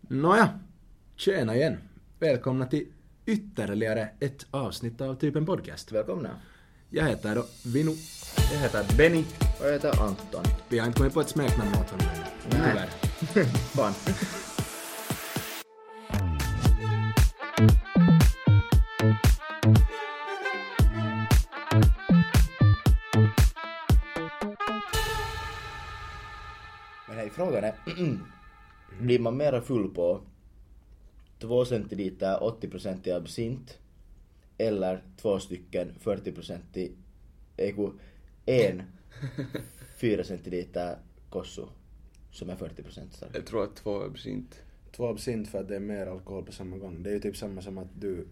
Nåja, tjena igen. Välkomna till ytterligare ett avsnitt av typen podcast. Välkomna. Jag heter då Vinu. Jag heter Benny. Och jag heter Anton. Vi har inte kommit på ett smeknamn åt honom ännu. Nej. Tyvärr. Fan. Men hej, frågan är. Blir man mera full på två centiliter 80% i absint eller två stycken 40% i, eh, ku- en 4 centiliter kosso som är 40% stark? Jag tror att två absint. Två absint för att det är mer alkohol på samma gång. Det är ju typ samma som att du eh,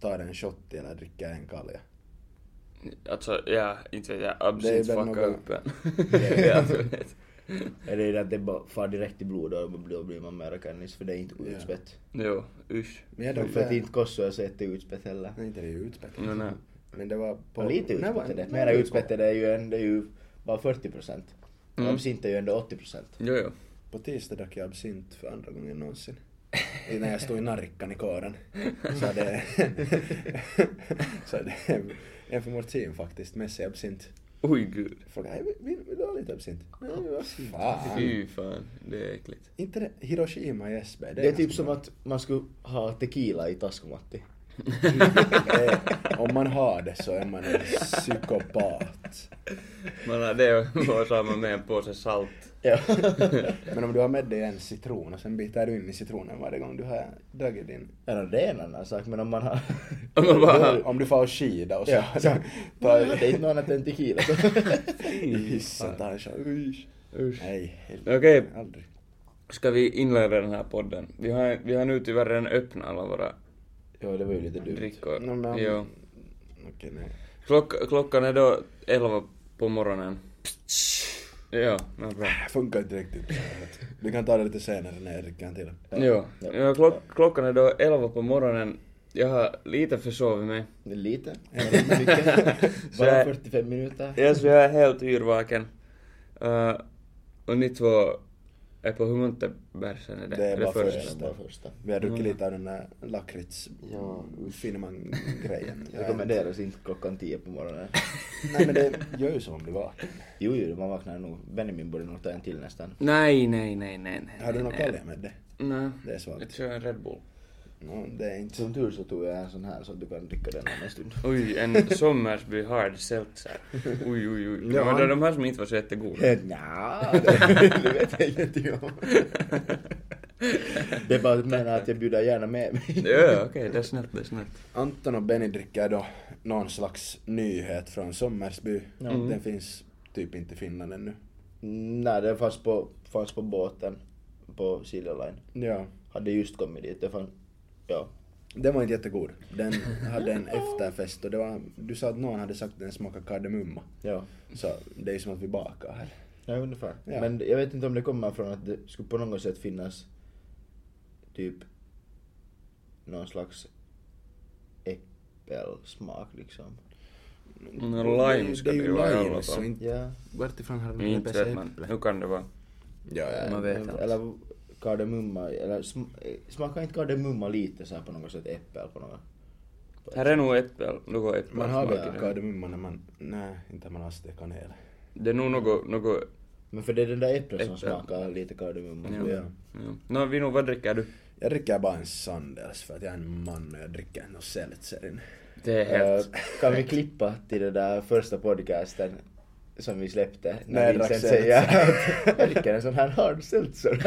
tar en shot eller dricker en kalja. Alltså, ja, inte vet jag. Det är Absint väl fuckar något- upp en. är- Ja, du vet. Eller är det att det bara far direkt i blodet och då blir man mer kannis för det är inte Ja. utspätt. Jo, usch. Men jag För att dricker... inte kosso är så jätteutspätt heller. Nej, inte det är ju utspätt. No, nej. Men det var på... Och lite Nej, utspätt var- är det. nej, Mera det var- utspätt är det ju än, det är ju bara 40%. Mm. Mm. Absint är ju ändå 80%. Jo, jo. På tisdag drack jag absint för andra gången någonsin. I- När jag stod i narrikan i kåren. Så det... så det är en för mortin faktiskt, mässig absint. Oj gud. Frågade "Hej, vill, vill du ha lite absint? Nej, vad fan. Fy fan, det är äckligt. Inte det, Hiroshima i SB. Det är typ ganska som bra. att man skulle ha tequila i taskomatti. Eh, Om man har det så är man en psykopat. Man har äh, det och och så har man med en påse salt. Ja. Men om du har med dig en citron och sen bitar du in i citronen varje gång du har dragit din... Eller det är en annan sak men om man har... Om man bara... Om du får skida och så... Ja, så- tar- Det är inte något annat än tequila. Hissa tar en shot. Usch. Usch. Nej, helvete. Okej, Aldrig. ska vi inleda den här podden? Vi har, vi har nu tyvärr redan öppnat alla våra Ja, det var ju lite dumt. drickor. No, men- Jo. Okej, nej. Klock, klockan är då elva på morgonen. Jo, no, Det bra. Äh, funkar inte riktigt. Du kan ta det lite senare när jag dricker en till. Jo, Ja. ja, klock, klockan är då elva på morgonen. Jag har lite försovit mig. Lite. Men inte mycket. Så Bara jag- 45 minuter. Ja, så jag är helt yrvaken. Eh, och ni två är på hur många bärsen är det? Det är bara först? först. Bara första. Vi har druckit Mm. lite av den där lakrits... Ja, Finman-grejen. Jag rekommenderas inte klockan 10 på morgonen. Nej men det gör ju så man blir vaken. Jo, jo, man vaknar nog. Benjamin borde nog ta en till nästan. Nej, nej, nej, nej, nej. Har du nej, någon nej. kalja med det? Nej. Det är svagt. Jag kör en Red Bull. No, det är inte... Som tur så tog jag en sån här så att du kan dricka den om en stund. Oj, en Sommersby Hard Seltzer. Oj, oj, oj. Det Ja, var han- de här som inte var så jättegoda. Nja, det, det vet jag ingenting om. Det är bara att menar att jag bjuder gärna med mig. Ja, okej, det är snällt, det är snällt. Anton och Benny dricker då någon slags nyhet från Sommersby. Mm. Den finns typ inte i Finland ännu. Nej, den fanns på, fanns på båten på Silja Line. Ja. Hade just kommit dit. Det fanns, ja. Den var inte jättegod. Den hade en efterfest och det var, du sa att någon hade sagt att den smakade kardemumma. Ja. Så det är ju som att vi bakar här. Ja, ungefär. Ja. Men jag vet inte om det kommer från att det skulle på något sätt finnas typ någon slags äppelsmak liksom. Nå, lime ska det, är det ju ju vara i lime, alla fall. så inte... Ja. Vartifrån har Men Mm. vi Inte vet man. äpple? Hur kan det vara? Ja, ja. Man vet eller, inte. eller kardemumma, eller sm- eh, smakar inte kardemumma lite så här på något sätt äppel på något? Här är nog äppel, något äppel. Man har väl Ja. typ kardemumma när man... Nej, inte när man har stekt kanel. Det är nog något, något... Men för det är den där äpplen som Äppel. smakar lite kardemumma. Ja. tror jag. Ja. Ja. Nå, Vino, vad dricker du? Jag dricker bara en Sandels för att jag är en man och jag dricker en seltzerin. Det är helt... Eh, kan vi klippa till den där första podcasten som vi släppte? Nej, När vi drack sen seltzer. säger att jag dricker en sån här hard seltzer.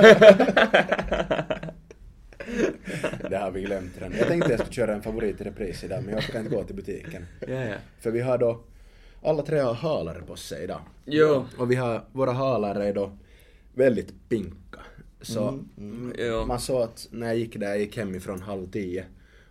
Det har vi glömt redan. Jag tänkte jag skulle köra en favorit i repris idag men jag orkar inte gå till butiken. Ja, ja. För vi har då, alla tre har halar på sig idag. Jo. Och vi har, våra halar är då väldigt pinka. Så mm. Jo. man såg att när jag gick där, jag gick hemifrån halv tio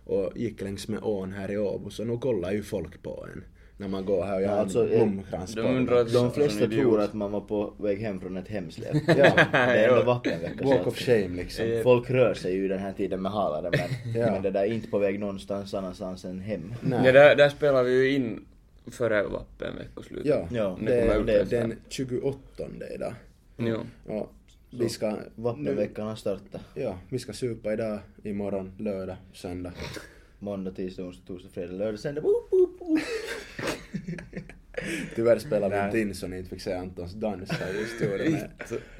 och gick längs med ån här i Åbo så nog kollar ju folk på en. När man går här och jag har Alltså, en eh, blomkrans på de mig. undrar- De flesta Sån idiot. tror att man var på väg hem från ett hemsläpp. Ja. Det är ändå Jo. vattenvecka. så Walk att- of shame liksom. Eh, Folk rör sig ju den här tiden med halare men, Ja. men det där är inte på väg någonstans annanstans än hem. Ja, där, där spelar vi ju in före vapen veckoslut. Ja, Ja, det, det kommer är ut det är efter. den 28 idag. Jo. Och Vi ska... Vappenveckan har startat. Ja, vi ska supa idag, imorgon, lördag, söndag. Måndag, tisdag, onsdag, torsdag, fredag, lördag, söndag. Boop, boop, boop. Tyvärr spelar vi inte in så ni inte fick se Antons dans här i historien.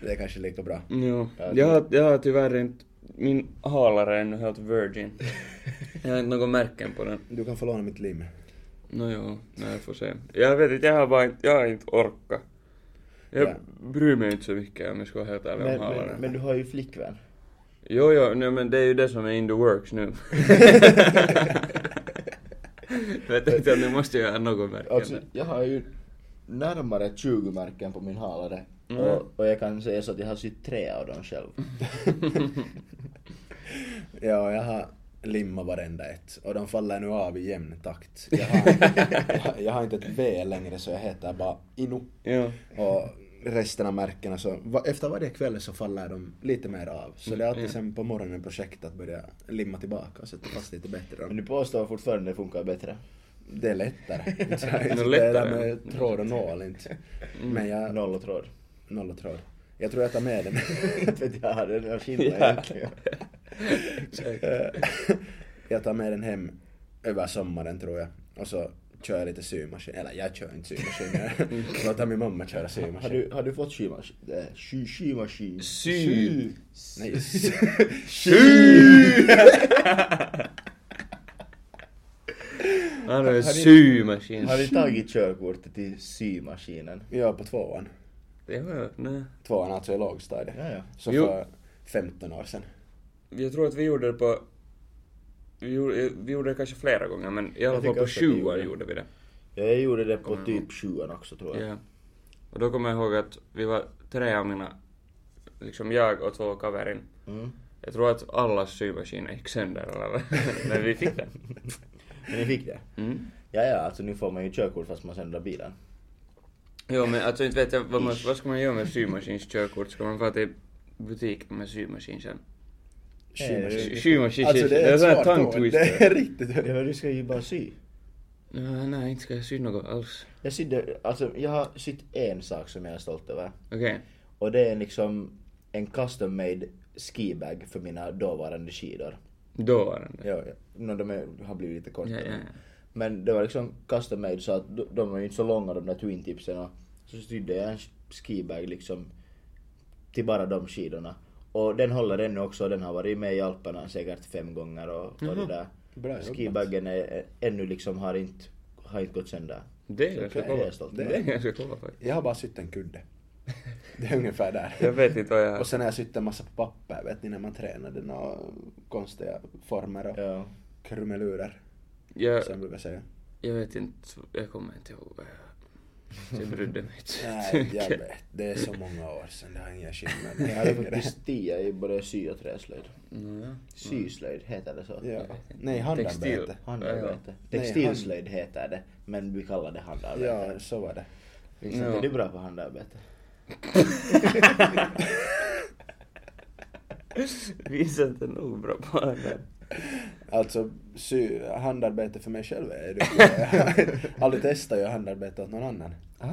Det är kanske lika bra. Ja. Jag, har, jag har tyvärr inte... Min halare är ännu helt virgin. Jag har inte något märken på den. Du kan få låna mitt lim. Nå jo, nej, jag får se. Jag vet inte, jag har bara inte, jag har inte orkat. Jag Ja. bryr mig inte så mycket om jag ska vara helt ärlig Men, om halaren. men, men du har ju flickvän. Jo, jo, nej, men det är ju det som är in the works nu. jag tänkte att nu måste jag göra något märkande. Alltså, jag har ju närmare 20 märken på min halare. Mm. Och, och jag kan säga så att jag har sytt tre av dem själv. Mm. Ja, jag har limmat varenda ett och de faller nu av i jämn takt. Jag har, jag, har- jag har inte ett V längre så jag heter bara Inu. Ja. Och resten av märkena så, va, efter varje kväll så faller de lite mer av. Så det är alltid sen på morgonen projekt att börja limma tillbaka och sätta fast lite bättre. Men dem. du påstår fortfarande det funkar bättre. Det är lättare. Så är det är Mm. lättare. där med tråd och nål inte. Mm. Men jag, Noll och tråd. noll och tråd. Jag tror jag tar med den. Inte vet jag, den har skillnad egentligen. jag tar med den hem över sommaren tror jag. Och så kör jag lite symaskin. Eller jag kör inte symaskin. Jag låter min mamma köra Har symaskin. du, har du fått skymaskin? Eh, Sky, skymaskin? Sy. Nej, Han har en symaskin. Har du tagit körkortet till symaskinen? jag är på tvåan. Det har jag, nej. Tvåan alltså i lågstadiet. Ja, ja. Så Jo. för 15 år sedan. Jag tror att vi gjorde det på... Vi gjorde, vi gjorde det kanske flera gånger, men i Jag alla fall tycker på också att vi sjuan gjorde. gjorde vi det. Jag gjorde det på typ sjuan också tror jag. Ja. Och då kommer jag ihåg att vi var tre av mina... Liksom jag och två kaverin. Mm. Jag tror att allas symaskin gick sönder eller Men vi fick den. Men ni fick det? Mm. Ja, ja, alltså nu får man ju körkort fast man söndrar bilen. Jo men alltså inte vet jag vad, man, vad ska man göra med symaskinskörkort? Ska man få till butiken med symaskin sen? Symaskin. Symaskin. Symaskin, Alltså det är en ett sån här svårt tongue ord. twister. Det är riktigt. Ja, men du ska ju bara sy. Nej, nej, inte ska jag sy något alls. Jag sydde, alltså jag har sytt en sak som jag är stolt över. Okej. Och det är liksom en custom made skibag för mina dåvarande skidor. Då var den där. Ja, ja. No, de är, har blivit lite kortare. Ja, ja, ja. Men det var liksom custom made så att de- de var ju inte så långa de där twin tipsen. och Så sydde jag en skibag liksom till bara de skidorna. Och den håller ännu också och den har varit med i Alperna säkert fem gånger och, och det där. Bra jobbat. Skibaggen är, är, ännu liksom har inte, har inte gått sönder. Det är ganska Det är jag coolt. stolt Det över. är ganska coolt faktiskt. Jag har bara sytt en kudde. Det är ungefär där. Jag vet inte vad jag... Och sen har jag sytt en massa på papper, vet ni, när man tränade några konstiga former och Ja. krumelurer. Jag, Som jag brukar säga. jag vet inte, jag kommer inte ihåg vad jag... Jag brydde mig inte. Nej, jag vet. Det är så många år sedan, det har ingen skillnad. Jag hade faktiskt tia i både sy och träslöjd. Nåja. Syslöjd heter det så? Mm. Ja. Nej, handarbete. Handarbete. Nej, Textilslöjd heter det, men vi kallar det handarbete. Ja, så var det. Vincent, Ja. är du bra på handarbete? Vincent är nog bra på det där. Alltså, sy, handarbete för mig själv är det Jag har aldrig testat att göra handarbete åt någon annan. Ah.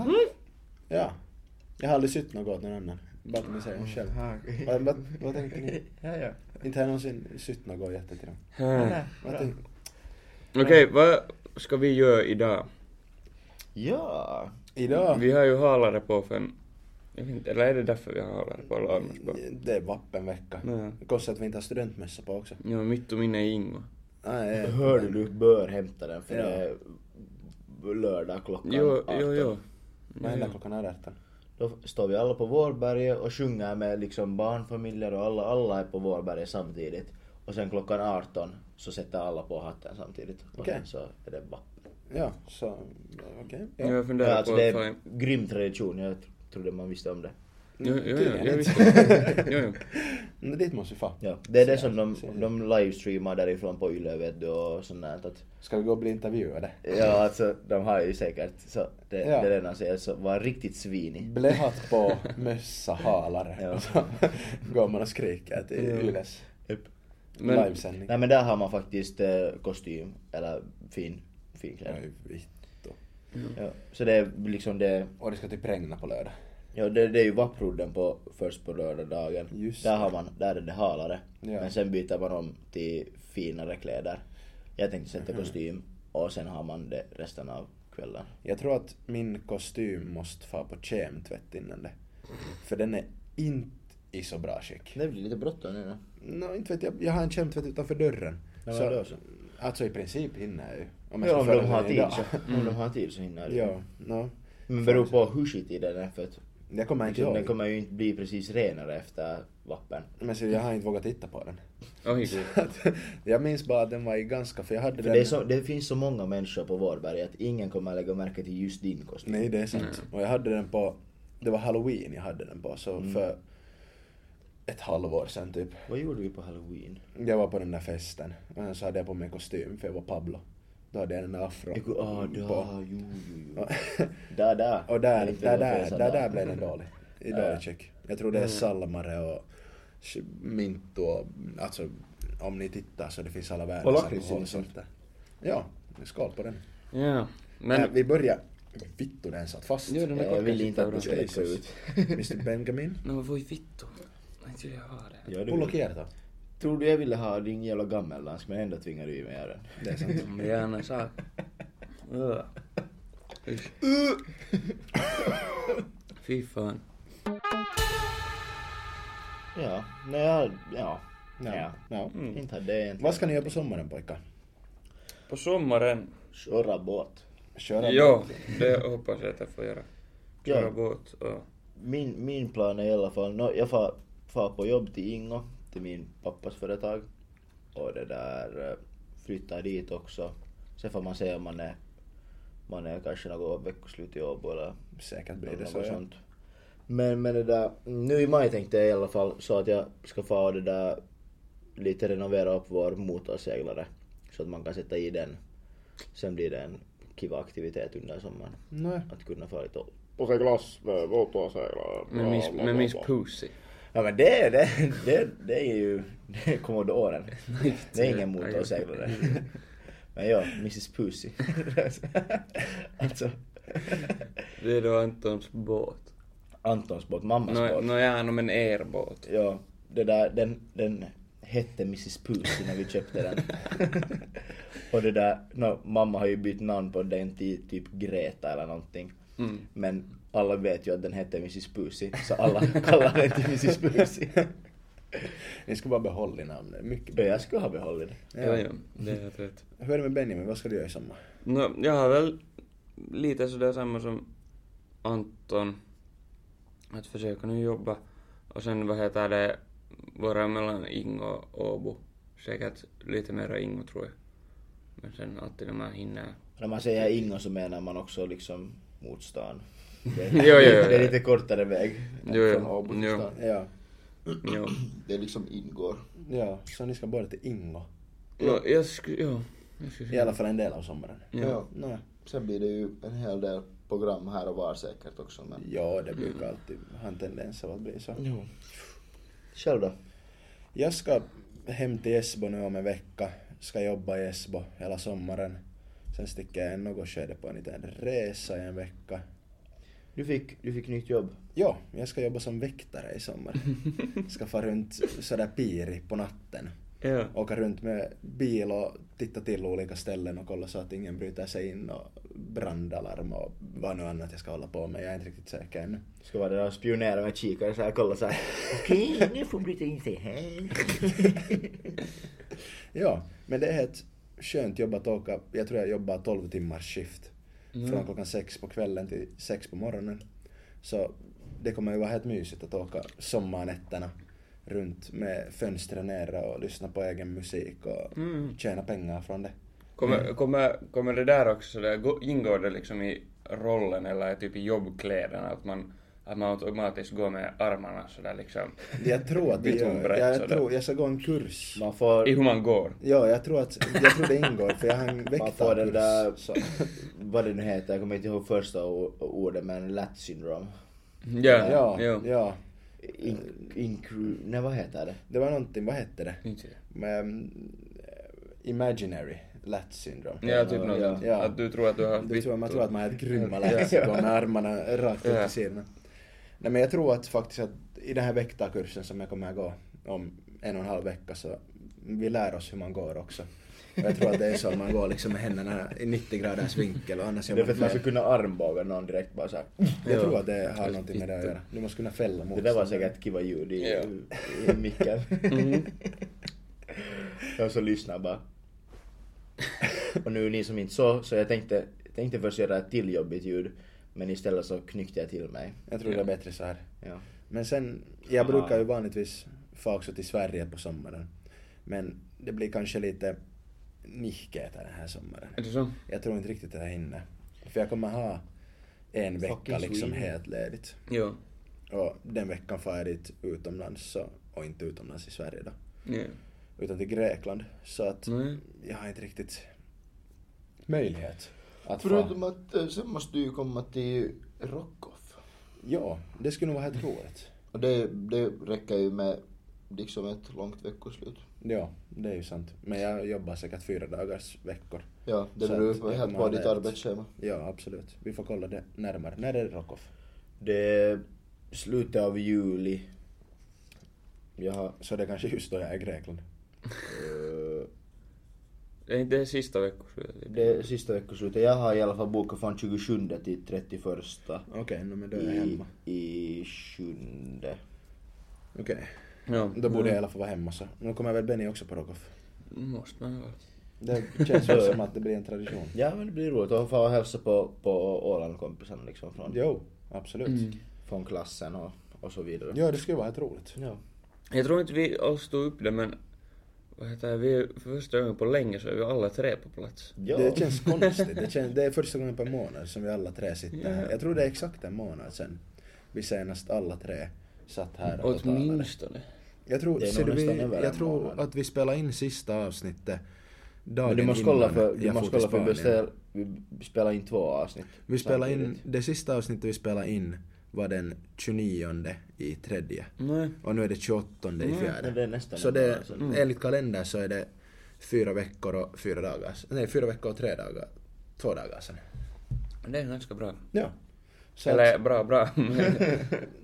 Ja. Jag har aldrig sytt något åt någon annan. Bara till mig själv. själv. Vad, vad, vad tänkte ni? Ja, ja. Inte har jag någonsin sytt något och gett det till dem. Okej, Vad tänkte, vad ska vi göra idag? Ja! idag? Vi har ju halare på för en... Jag vet inte, eller är det därför vi har halare på? Eller annars bara? Det är vappenvecka. Ja. Det kostar att vi inte har studentmössa på också. Ja, mitt och minne är Ingo. Nej, Hörde du, bör hämta den för Eh, Ja. det är lördag klockan Jo, 18. jo, jo. Vad händer klockan är 18? Då står vi alla på Vårberget och sjunger med liksom barnfamiljer och alla, alla är på Vårberget samtidigt. Och sen klockan 18 så sätter alla på hatten samtidigt. Och Okej. sen så är det vapp. Ja, så okej. Ja, Jag Ja, funderar alltså på det att är ta en... en grym tradition, jag tr- trodde man visste om det. Mm, Jo, jo, jo, Tydligen inte. jag visste. Jo, jo. Men dit måste vi få. Ja, det är det som de, de livestreamar därifrån på Yle vet du och sånt där. Att, Ska vi gå och bli intervjuade? ja alltså de har ju säkert så det, Ja. Mm. det lönar sig alltså var riktigt svinig. Blähat på, mössa, halare. Ja. Och så går man och skriker till Ja. Yles Men- livesändning. Nej men där har man faktiskt eh, kostym eller fin, fin kläder. Oj, vittu. Ja, så det är liksom det, Och det ska till Prängna typ på lördag. Ja, det, det är ju vapprodden på först på röda dagen. Just där det. har man, där är det halare. Ja. Men sen byter man om till finare kläder. Jag tänkte Mm-hmm. sätta kostym och sen har man det resten av kvällen. Jag tror att min kostym måste få på kemtvätt innan det. För den är inte i så bra skick. Det blir lite bråttom nu då. Nå, inte vet jag. Jag har en kemtvätt utanför dörren. Ja, så, men då så. Alltså i princip hinner jag ju. jag Ja, ska om föra de den har tid idag. så, om de har tid så hinner du. Ja, nå. Men beror på hur skitig den är för att Jag kommer inte liksom, den ihåg. kommer ju inte bli precis renare efter vappen. Men så jag har inte vågat titta på den. Oj. jag minns bara att den var i ganska, för jag hade För den... det, är så, det finns så många människor på Vårberg att ingen kommer lägga märke till just din kostym. Nej, det är sant. Och jag hade den på, det var halloween jag hade den på, så Mm. för ett halvår sedan typ. Vad gjorde vi på halloween? Jag var på den där festen och sen så hade jag på mig kostym för jag var Pablo. Då hade jag den där afro. Jag går, ah, på. da, jo, jo, jo. Och- Där, där. Och Jag där, vet inte där, vad jag där, sa där, där blev den dålig. I Ja. dåligt skick. Jag tror det är salmare och ch- mint och, alltså om ni tittar så det finns alla världens Och lakrits alkoholsorter. liksom. Ja, skål på den. Ja. Men... Men... vi börjar. Vittu, den satt fast. Jo, den är Jag korkad. vill inte att du ska läcka Jesus. ut. Mr Benjamin. No voi vittu. Nej, inte vill jag ha det. Ja, Pullo du, kierto. tror du jag ville ha din jävla gammeldansk men ändå tvingar du i mig den. Det är sant. Men gärna sak. Öh. Usch. Fy fan. Ja, nej, jag, ja. Ja. ja. Ja. Mm. Inte hade jag Vad egentligen. ska ni göra på sommaren pojkar? På sommaren? Köra båt. Köra Ja, det hoppas jag att jag får göra. Köra Ja. båt och... Min, min plan är i alla fall, nå jag far, far på jobb till Ingo, till min pappas företag. Och det där, eh, flyttar dit också. Sen får man se om man är, man är kanske något veckoslut i Åbo eller Säkert blir det något så. Ja. sånt. Men, men det där, nu i maj tänkte jag i alla fall så att jag ska få det där lite renovera upp vår motorseglare. Så att man kan sätta i den. Sen blir det en kiva aktivitet under sommaren. Nåja. Att kunna få lite Och se glass med motorseglare. Med miss, med miss pussy. Ja men det, det, det, det är ju det är Commodoren. Det är ingen motorseglare. Men ja, Mrs Pussy. alltså, Det är då Antons båt. Antons båt, mammas Nåja, båt. no, ja, no, men er båt. Ja, det där, den, den hette Mrs Pussy när vi köpte den. Och det där, nå, mamma har ju bytt namn på den till typ Greta eller någonting. Mm. Men alla vet ju att den hette Mrs Pussy, så alla kallar den till Mrs Pussy. Ni ska bara behålla namnet. Mycket Ja, bra. jag skulle ha behållit den. Ja, ja, det är rätt. Hur är det med Benjamin? Vad ska du göra i sommar? No, jag har väl lite sådär samma som Anton. Att försöka nu jobba. Och sen vad heter det, vara mellan Ingo och Åbo. Säkert lite mera Ingo tror jag. Men sen alltid när man hinner. När man säger Ingo så menar man också liksom mot stan. Det är, Jo, jo, jo. det är lite kortare väg. Jo, jo, från Åbo till jo. stan. Ja. Jo. Det liksom ingår. Ja, så ni ska båda till Ingo. Ja, No, jag skulle, ja. Jag skulle I säga. alla fall en del av sommaren. Ja. Nåja. Sen blir det ju en hel del program här och var säkert också. Men... Ja, det brukar alltid ha en tendens av att bli så. Jo. Själv då? Jag ska hem till Esbo nu om en vecka. Ska jobba i Esbo hela sommaren. Sen sticker jag i något skede på en liten resa i en vecka. Du fick, du fick nytt jobb. Ja, jag ska jobba som väktare i sommar. Ska fara runt sådär piri på natten. Ja. Åka runt med bil och titta till olika ställen och kolla så att ingen bryter sig in och brandalarm och vad nu annat jag ska hålla på med. Jag är inte riktigt säker ännu. Ska vara där och spionera med kikare så här, kolla så här. Okej, nu får bryta in sig här. Ja, men det är ett skönt jobb att åka. Jag tror jag jobbar 12 timmars skift. Från klockan sex på kvällen till sex på morgonen. Så det kommer ju vara helt mysigt att åka sommarnätterna runt med fönstren nere och lyssna på egen musik och tjäna pengar från det. Mm. Kommer, kommer, kommer det där också sådär, gå- ingår det liksom i rollen eller typ i jobbkläderna att man, att man automatiskt går med armarna sådär liksom? Jag tror att det Vitt och gör, brett jag, sådär. tror, jag ska gå en kurs. Man I får, hur man går? Ja, jag tror att, jag tror det ingår för jag har en man får väktarkurs. den där, så- vad det nu heter, jag kommer inte ihåg första o- ordet men lätt syndrom. Ja, Ja, jo. ja. In, incru... Nej vad heter det? Det var någonting, vad hette det? Inte det. Men, imaginary Lat syndrome. Ja, typ något ja, sånt. ja. Att du tror att du har haft Du tror, man vittu. tror att man är ett grymma lätt så går med armarna rakt ut Ja. i sidorna. Nej men jag tror att faktiskt att i den här väktarkursen som jag kommer att gå om en och en halv vecka så vi lär oss hur man går också. Och jag tror att det är så att man går liksom med händerna i 90 graders vinkel och annars Det gör är för att man ska fel. kunna armbåga någon direkt bara så här. Jag tror att det har någonting med det att göra. Du måste kunna fälla Det motståndaren. där var säkert ett kiva ljud i, Ja. i micken. Mm. Jag så lyssnar bara. Och nu ni som inte såg, så jag tänkte, tänkte först göra ett till jobbigt ljud. Men istället så knyckte jag till mig. Jag tror det är bättre så här. Ja. Men sen, Ah. jag brukar ju vanligtvis få också till Sverige på sommaren. Men det blir kanske lite nihkeet den här sommaren. Är det så? Jag tror inte riktigt att jag hinner. För jag kommer ha en vecka Fucking liksom Sweden. helt ledigt. Joo. Och den veckan far jag dit utomlands, så, och inte utomlands i Sverige då. Joo. Utan till Grekland. Så att Nej. jag har inte riktigt möjlighet att få... att eh, sen måste du ju komma till Rockoff. Ja, det skulle nog vara helt roligt. Och det, det räcker ju med liksom ett långt veckoslut. Ja, det är ju sant. Men jag jobbar säkert fyra dagars veckor. Ja, det Så beror att ju på- jag helt kommer på ha ditt ledigt. arbetsschema. Ja, absolut. Vi får kolla det närmare. När är det Rockoff? Det är slutet av juli. Jag har... Så det är kanske just då jag är i Grekland. eh, Ei tee sista veckan. det är sista veckoslutet. Jag har i alla fall bokat från 27 till 31 Okej, no, men då är jag i, hemma. i sjunde. Okej, Joo. då borde jag i alla fall vara hemma så. Nu kommer väl Benny också på Rockoff? Musta mä vaan. Det känns väl som att det blir en tradition. Ja men det blir roligt. Och få hälsa på, på Ålandkompisarna liksom från, Jo, absolut. från klassen och, och så vidare. Ja, det skulle vara helt roligt. Ja. Jag tror inte vi alls stod upp det men vad heter det, vi är för första gången på länge så är vi alla tre på plats. Ja. Det känns konstigt. Det, känns, det är första gången på en månad som vi alla tre sitter här. Ja. Jag tror det är exakt en månad sedan vi senast alla tre satt här och talade. Åtminstone. Jag tror, Det är nog ser du, vi, nästan över jag en tror månad. att vi spelade in sista avsnittet dagen Men du måste kolla innan för, du jag måste for till kolla för vi, Spanien. beställ, vi spelar in två avsnitt. Vi spelade in, samtidigt. det sista avsnittet vi spelade in var den 29 i tredje. Nej. Och nu är det 28 i men det är fjärde. nästan Så en det, Mm. månad sedan. enligt kalender så är det fyra veckor och fyra dagar. Nej, fyra veckor och tre dagar. Två dagar sedan. Det är ganska bra. Ja. Så Eller att bra, bra.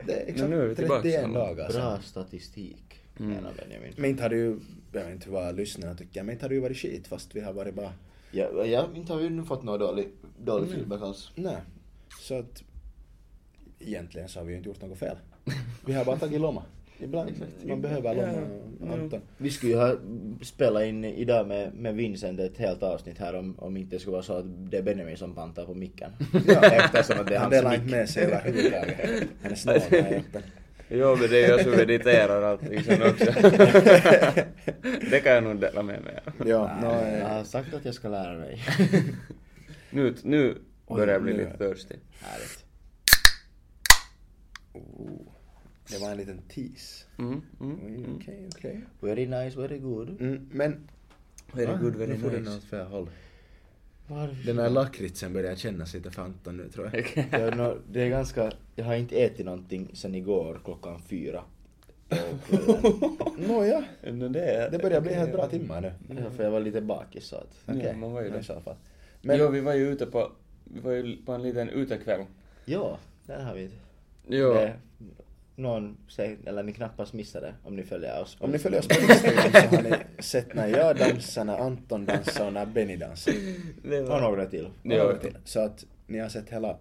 det är exakt nu är vi tillbaka 31 sen. dagar sedan. Bra statistik, menar Benjamin. Men inte har det ju, jag vet inte vad lyssnarna tycker, men inte har det ju varit skit fast vi har varit bara, Ja, jag inte har ju nu fått någon dålig, dålig feedback alls. nej. Så att egentligen så har vi ju inte gjort något fel. Vi har bara tagit lomma. Ibland man behöver lomma och Anton. Vi skulle ju ha spelat in idag med, med Vincent ett helt avsnitt här om, om inte det skulle vara så att det är Benjamin som pantar på micken. Eftersom att det Han är hans delar inte mick. med sig överhuvudtaget. Han är snål här uppe. Joo, men det är jag som editerar allting sen också. det kan jag nog dela med mig av. Ja, no, Jag eh, har sagt att jag ska lära mig. Nu, nu börjar jag bli nu. lite törstig. Härligt. Oh. det var en liten tease. Mm, mm. Oj, Okej, okej. Very nice, very good. Mm, Men... Very Ah, good, very Nu får den nice. åt fel håll. Varför? Den där lakritsen börjar kännas lite för Anton nu tror jag. Det är, nå- det är ganska, jag har inte ätit någonting sen igår klockan fyra. Nåja, No, det, är, det börjar bli helt bra timmar nu. Ja, För jag var lite bakis så att... Ja, Okej, man var ju i det. så fall. Men... Men- Jo, vi var ju ute på, vi var ju på en liten utekväll. Ja, där har vi det. Joo. det. Någon säger, eller ni knappast missar det om ni följer oss. på- Om ni följer oss på Instagram så har ni sett när jag dansar, när Anton dansar och när Benny dansar. Det Och några till. Joo. Så att ni har sett hela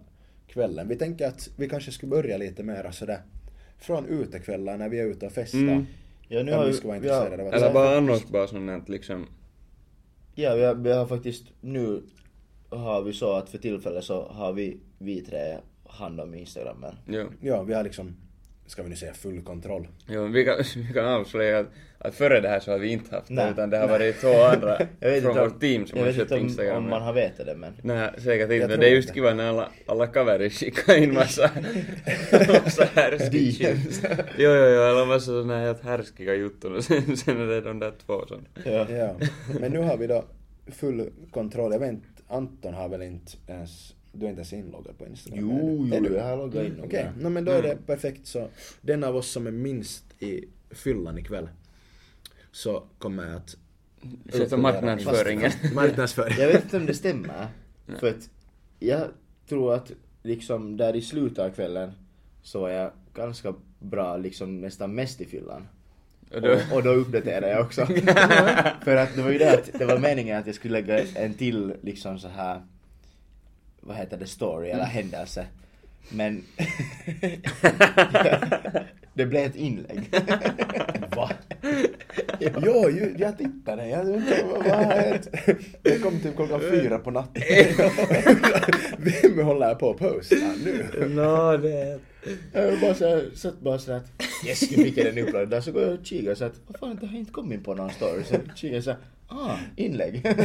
kvällen. Vi tänker att vi kanske skulle börja lite mera sådär från utekvällar när vi är ute och festar. Mm. Ja, Om ni skulle vara intresserade av att- Eller bara annars bara sånt här liksom. Ja, vi har, vi har faktiskt nu har vi så att för tillfället så har vi, vi tre hand om Instagrammen. Joo. Ja, vi har liksom, ska vi nu säga full kontroll. Joo, vi kan, vi kan avslöja att, att före det här så har vi inte haft det, Nej. utan det har varit två andra Jag vet från inte vårt om, team som jag har vet köpt inte om, Instagram. om man har vetat det men. Nej, säkert inte. tror Det är just inte. kiva när alla, alla kaverit skickar in massa, massa härskiga shit. Jo, jo, jo, eller massa såna här helt härskiga jutton och sen, sen är det de där två som... Ja. Ja. Men nu har vi då full kontroll. Jag vet inte, Anton har väl inte ens, du är inte ens inloggad på Instagram? Jo, är du? jo, Är du? jag har loggat in. Okej, no, men då är det perfekt så. Den av oss som är minst i fyllan ikväll så kommer att Sköter marknadsföringen. marknadsföra. Jag vet inte om det stämmer. För att jag tror att liksom där i slutet av kvällen så var jag ganska bra, liksom nästan mest i fyllan. Och då- Och, och då uppdaterade jag också. För att det var ju det att det var meningen att jag skulle lägga en till liksom så här vad heter det, story Mm. eller händelse. Men det blev ett inlägg. Va? Jo, ju, jag tittade. Jag vet inte vad vad har hänt. Det kom typ klockan fyra på natten. Vem håller på att posta nu? Nå, det... Jag var bara så här, satt bara så här att yes, nu fick jag den uppladdad. Där Så går jag och kikar så att vad fan, det har inte kommit på någon story. Så kikar jag så här, ah, inlägg.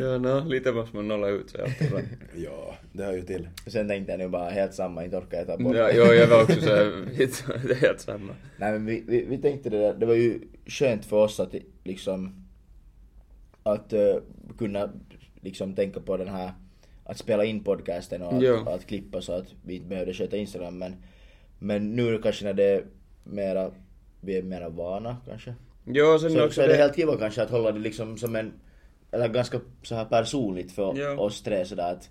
Ja, no, lite måste man nolla ut sig alltid. va? Ja, det hör ju till. Och sen tänkte jag nu bara helt samma, inte orkar jag ta bort Ja, jo, jag var också såhär, det är helt samma. Nej men vi, vi, vi tänkte det där, det var ju skönt för oss att liksom att eh, kunna liksom tänka på den här att spela in podcasten och att, Ja. och att klippa så att vi inte behövde sköta Instagram men, men nu kanske när det är mera, vi är mera vana kanske. Jo, sen Så, också så är det helt kiva kanske att hålla det liksom som en, eller ganska så här personligt för Ja. oss tre sådär att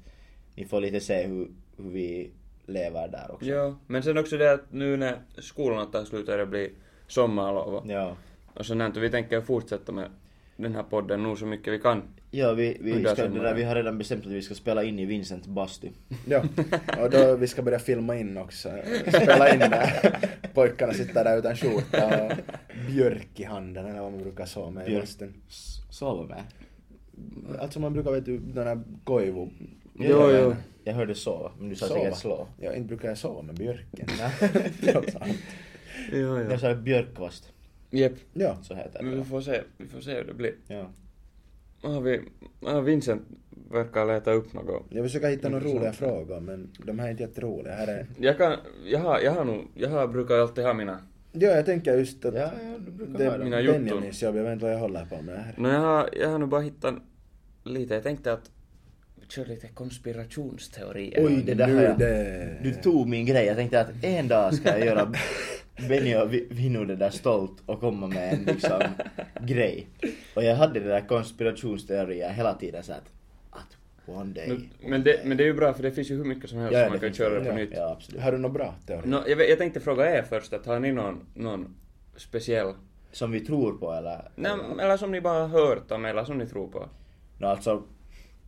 ni får lite se hur, hur vi lever där också. Ja, men sen också det att nu när skolan tar slut och det blir sommarlov och- Ja. och sånt här, och vi tänker fortsätta med den här podden nog så mycket vi kan. Ja, vi, vi, Under ska, det där, sommaren. vi har redan bestämt att vi ska spela in i Vincents bastu. Ja, och då vi ska börja filma in också. Spela in där. Pojkarna sitter där utan skjorta och björk i handen eller vad man brukar så med i Björk. bastun. S- Sova med. Alltså man brukar vet du, den här koivu... Jo, jag, jo. Jag hörde sova, men du sa Sova. säkert slå. Ja, inte brukar jag sova med björken. Ja, Jag sa björkvast, Jep. ja, så heter Men vi det. får se, vi får se hur det blir. Ja. Har vi, har Vincent verkar leta upp något. jag försöker hitta några roliga frågor men de här är inte jätteroliga. Här är... Jag kan, jag har, jag har nog, jag har, brukar alltid ha mina. Ja, jag tänker just att Ja, ja, du brukar det ha är dem. Mina Benjamins jobb, jag vet inte vad jag håller på med här. No jag har, jag har nog bara hittat lite, jag tänkte att vi kör lite konspirationsteorier. Oj, det där Nu har jag. det- Du tog min grej. Jag tänkte att en dag ska jag göra Benny och Vi- Vinno det där stolt och komma med en liksom grej. Och jag hade det där konspirationsteorier hela tiden så att, att one day. Men, men, det, men det är ju bra för det finns ju hur mycket som helst som man det kan finns köra det. på ja, nytt. Ja, absolut. Har du några bra teorier? Nå, jag, vet- jag tänkte fråga er först, att har ni någon, någon speciell? Som vi tror på eller? Nej, eller som ni bara har hört om, eller som ni tror på? No alltså,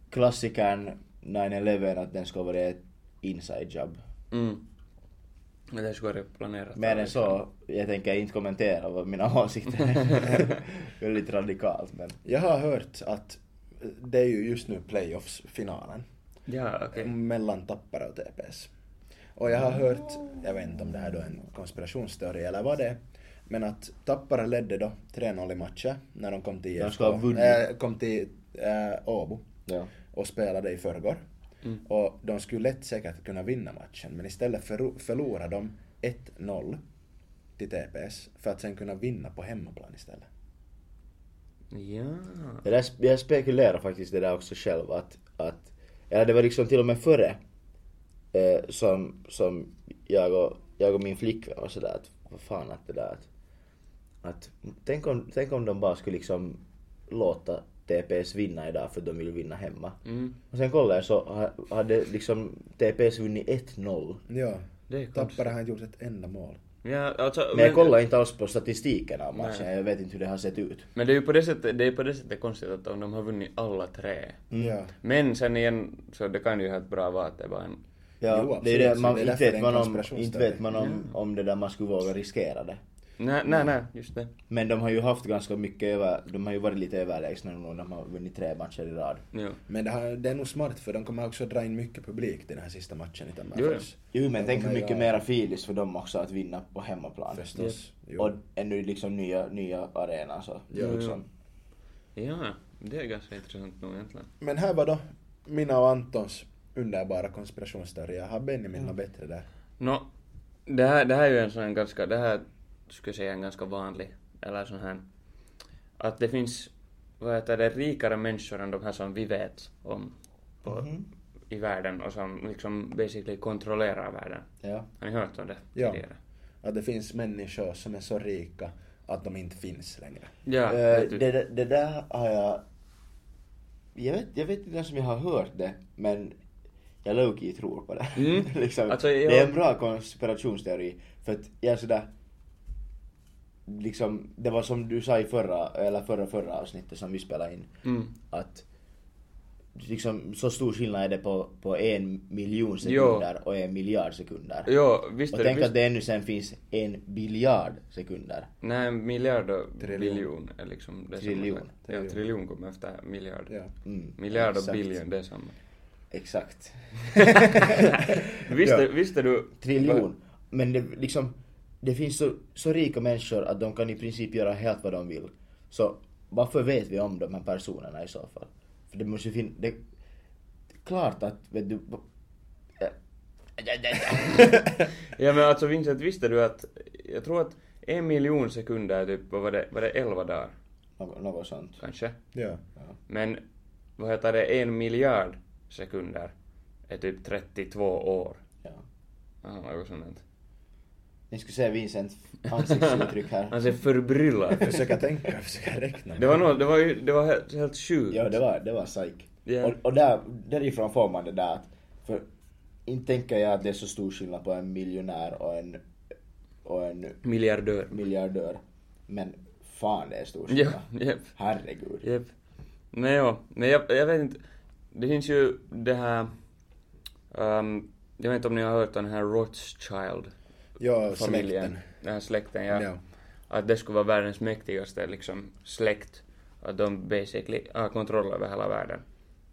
klassikern 9-11 att den ska vara ett inside job. Mm. Men Det skulle vara planerat. Mer än så, jag tänker inte kommentera vad mina åsikter är. Väldigt radikalt men. Jag har hört att det är ju just nu playoffs-finalen Ja, okej. mellan Tappara och TPS. Och jag har hört, jag vet inte om det här då är en konspirationsteori eller vad det är, men att Tappara ledde då 3-0 i matcher när de kom till De ska ha vunnit. äh, kom till äh, Åbo Ja. och spelade i förrgår. Mm. Och de skulle lätt säkert kunna vinna matchen, men istället förlo- förlorade de 1-0 till TPS för att sen kunna vinna på hemmaplan istället. Ja. Det där, jag spekulerar faktiskt det där också själv att, att eller det var liksom till och med före eh, som, som jag, och, jag och min flickvän var sådär att vad fan att det där att, att tänk, om, tänk om de bara skulle liksom låta TPS vinna idag för de vill vinna hemma. Mm. Och sen kollar jag så ha- hade liksom TPS vunnit 1-0. Ja, Det är konstigt. Tappara har inte gjort ett enda mål. Ja, alltså, Men jag kollar inte alls på statistiken av matchen, Nej. jag vet inte hur det har sett ut. Men det är ju på det sättet, det är på det sättet konstigt att om de har vunnit alla tre. Mm. Ja. Men sen igen, så det kan ju helt bra vara att det bara en... Ja, Jo, det är absolut, det, så man, det är inte därför det är vet en man, om, konspirationsteori. inte vet man om, om det där man skulle våga riskera det. Nej, nej, nej, just det. Men de har ju haft ganska mycket över, de har ju varit lite överlägsna nu när de har vunnit tre matcher i rad. Jo. Men det, här, det är nog smart för de kommer också dra in mycket publik till den här sista matchen i Tammerfors. Jo men tänk hur kommer mycket göra- mera filis för dem också att vinna på hemmaplan. Förstås. Jo. Och ännu liksom nya, nya arenor så. Jo, liksom. Ja, det är ganska intressant nog egentligen. Men här var då mina och Antons underbara konspirationsteorier. Har Benjamin något bättre där? Nå, det här, det här är ju en sån här ganska, det här skulle jag säga en ganska vanlig, eller sån här, att det finns, vad heter det, rikare människor än de här som vi vet om på, Mm. i världen och som liksom basically kontrollerar världen. Ja. Har ni hört om det Ja. tidigare? Att det finns människor som är så rika att de inte finns längre. Ja, Eh, vet du. det, det där har jag... Jag vet, jag vet inte ens om jag har hört det, men jag lowkey tror på det. Mm. liksom, Alltså, Det är jag- en bra konspirationsteori. För att jag är sådär... Liksom, det var som du sa i förra, eller förra, förra avsnittet som vi spelade in. Mm. Att liksom, så stor skillnad är det på, på en miljon sekunder och en miljard sekunder. Joo, visst och är det. tänk Visst, att det ännu sen finns en biljard sekunder. Nej, miljard och Triljon. biljon är liksom det är samma Triljon. sak. Ja, triljon kommer efter miljard. Ja. Mm, Miljard och exakt. biljon, det är samma. Exakt. Visste, Ja. visste du? Triljon. Men det, liksom, det finns så, så rika människor att de kan i princip göra helt vad de vill. Så varför vet vi om de här personerna i så fall? För det måste ju finnas... Det, klart att, vet du... Ja men alltså Vincent, visste du att jag tror att en miljon sekunder är typ, vad var det, var det elva dagar? Något, något sånt. Kanske? Ja. Men vad heter det, en miljard sekunder är typ 32 år. Ja. Ja, något sånt. Ni skulle se Vincents ansiktsuttryck här. Han ser förbryllad Jag försöker tänka, jag försöker räkna. Det var nog, det var ju, det var helt, helt sjukt. Ja, det var, det var psyk. Ja. Och, och där, därifrån får man det där att, för inte tänker jag att det är så stor skillnad på en miljonär och en, och en Miljardör. miljardör. Men fan det är stor Ja, skillnad. jep, Herregud. jep. Men ja, men jag, jag vet inte. Det finns ju det här, ehm, jag vet inte om ni har hört om den här Rothschild. Ja, familjen, släkten. den här släkten ja. Ja. Att det skulle vara världens mäktigaste liksom, släkt. Att de basically har kontroll över hela världen.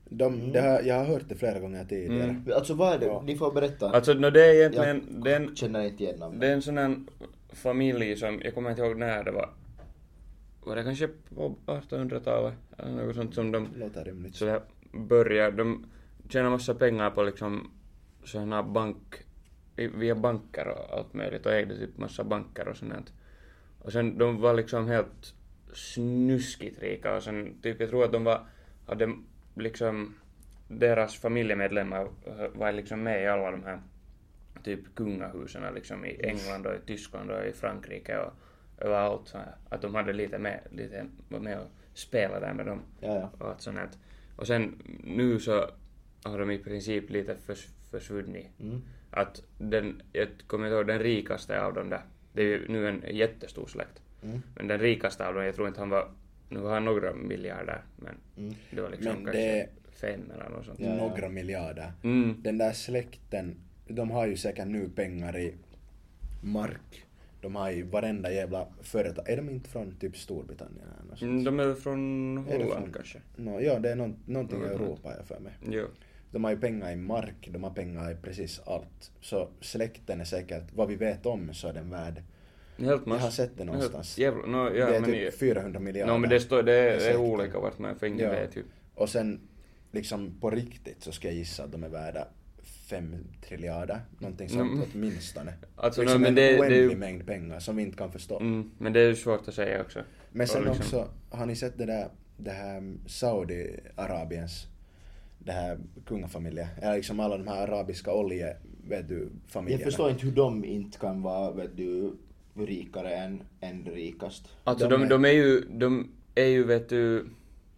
De, det har, jag har hört det flera gånger tidigare. Mm. Alltså vad är det? Ni får berätta. Alltså no, det är jag egentligen, det är en, känner inte igen namnet. det är en sån här familj som, jag kommer inte ihåg när det var. Var det kanske på 1800-talet? Eller något sånt som de Det låter rimligt. så där börjar, de tjänar massa pengar på liksom såna bank, i- via banker och allt möjligt och ägde typ massa banker och sånt. där. Och sen de var liksom helt snuskigt rika och sen typ jag tror att de var, hade liksom deras familjemedlemmar eh, var liksom med i alla de här typ kungahusen liksom i England och i Tyskland och i Frankrike och överallt så här. Att de hade lite med, lite var med och spelade där med dem. Ja, ja. Och, att sån här, och sen nu så har de i princip lite förs, försvunnit. Mm. Att den, jag kommer inte ihåg, den rikaste av dem där, det är ju nu en jättestor släkt. Mm. Men den rikaste av dem, jag tror inte han var, nu var han några miljarder, men Mm. det var liksom Men kanske det- fem eller något sånt. Några miljarder. Mm. Den där släkten, de har ju säkert nu pengar i mark. De har ju varenda jävla företag. Är de inte från typ Storbritannien eller något sånt? Mm, De är från Är det Holland från- kanske. Nå, ja, det är nånt- någonting i Mm. Europa har jag för mig. Jo. De har ju pengar i mark, de har pengar i precis allt. Så släkten är säkert, vad vi vet om så är den värd. Helt Jag mass... har sett det någonstans. Helt, jävla, no, ja, det är men, typ 400 miljarder. no, men det, står, det är, det är Säkert. olika vart man typ. är, för ingen Ja. vet ju. Och sen liksom på riktigt så ska jag gissa att de är värda fem triljarder, någonting sånt Mm. åtminstone. Alltså, liksom nej, men en det- det är oändlig ju- mängd pengar som vi inte kan förstå. Mm, men det är ju svårt att säga också. Men sen Och liksom- också, har ni sett det där, det här Saudiarabiens, det här kungafamiljen, eller liksom alla de här arabiska olje, vet du, Jag familjerna. förstår inte hur de inte kan vara, vet du, rikare än, än rikast. Alltså De de, är- de är ju, de är ju vet du,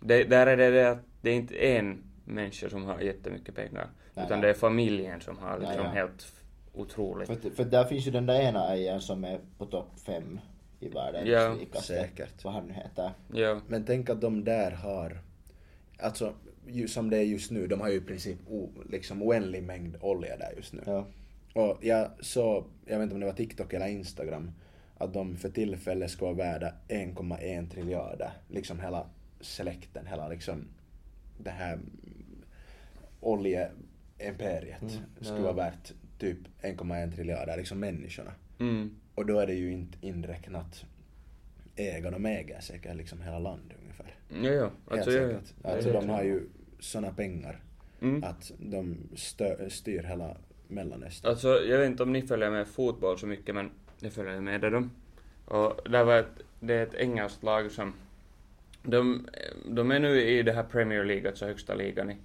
det, där är det det att det är inte en människa som har jättemycket pengar. Nej, utan nej. det är familjen som har liksom ja. helt f- otroligt. För, att- för att där finns ju den där ena ägaren som är på topp fem i världens Ja. rikaste. Säkert. Vad han nu heter. Ja. Men tänk att de där har, alltså ju, som det är just nu, de har ju i princip o, liksom oändlig mängd olja där just nu. Ja. Och jag såg, jag vet inte om det var TikTok eller Instagram, att de för tillfället ska vara värda 1,1 triljarder. Liksom hela släkten, hela liksom det här oljeimperiet skulle vara värt typ 1,1 triljarder, liksom människorna. Mm. Och då är det ju inte inräknat ägarna, de äger säkert liksom hela landet ungefär. Ja, ja. Alltså, ja, Helt ja. säkert. Det Alltså är de det. har ju såna pengar Mm. att de stö- styr hela Mellanöstern. Alltså, jag vet inte om ni följer med fotboll så mycket, men jag följer med det då. Och där var ett, det är ett engelskt lag som... De, de är nu i det här Premier League, alltså högsta ligan i,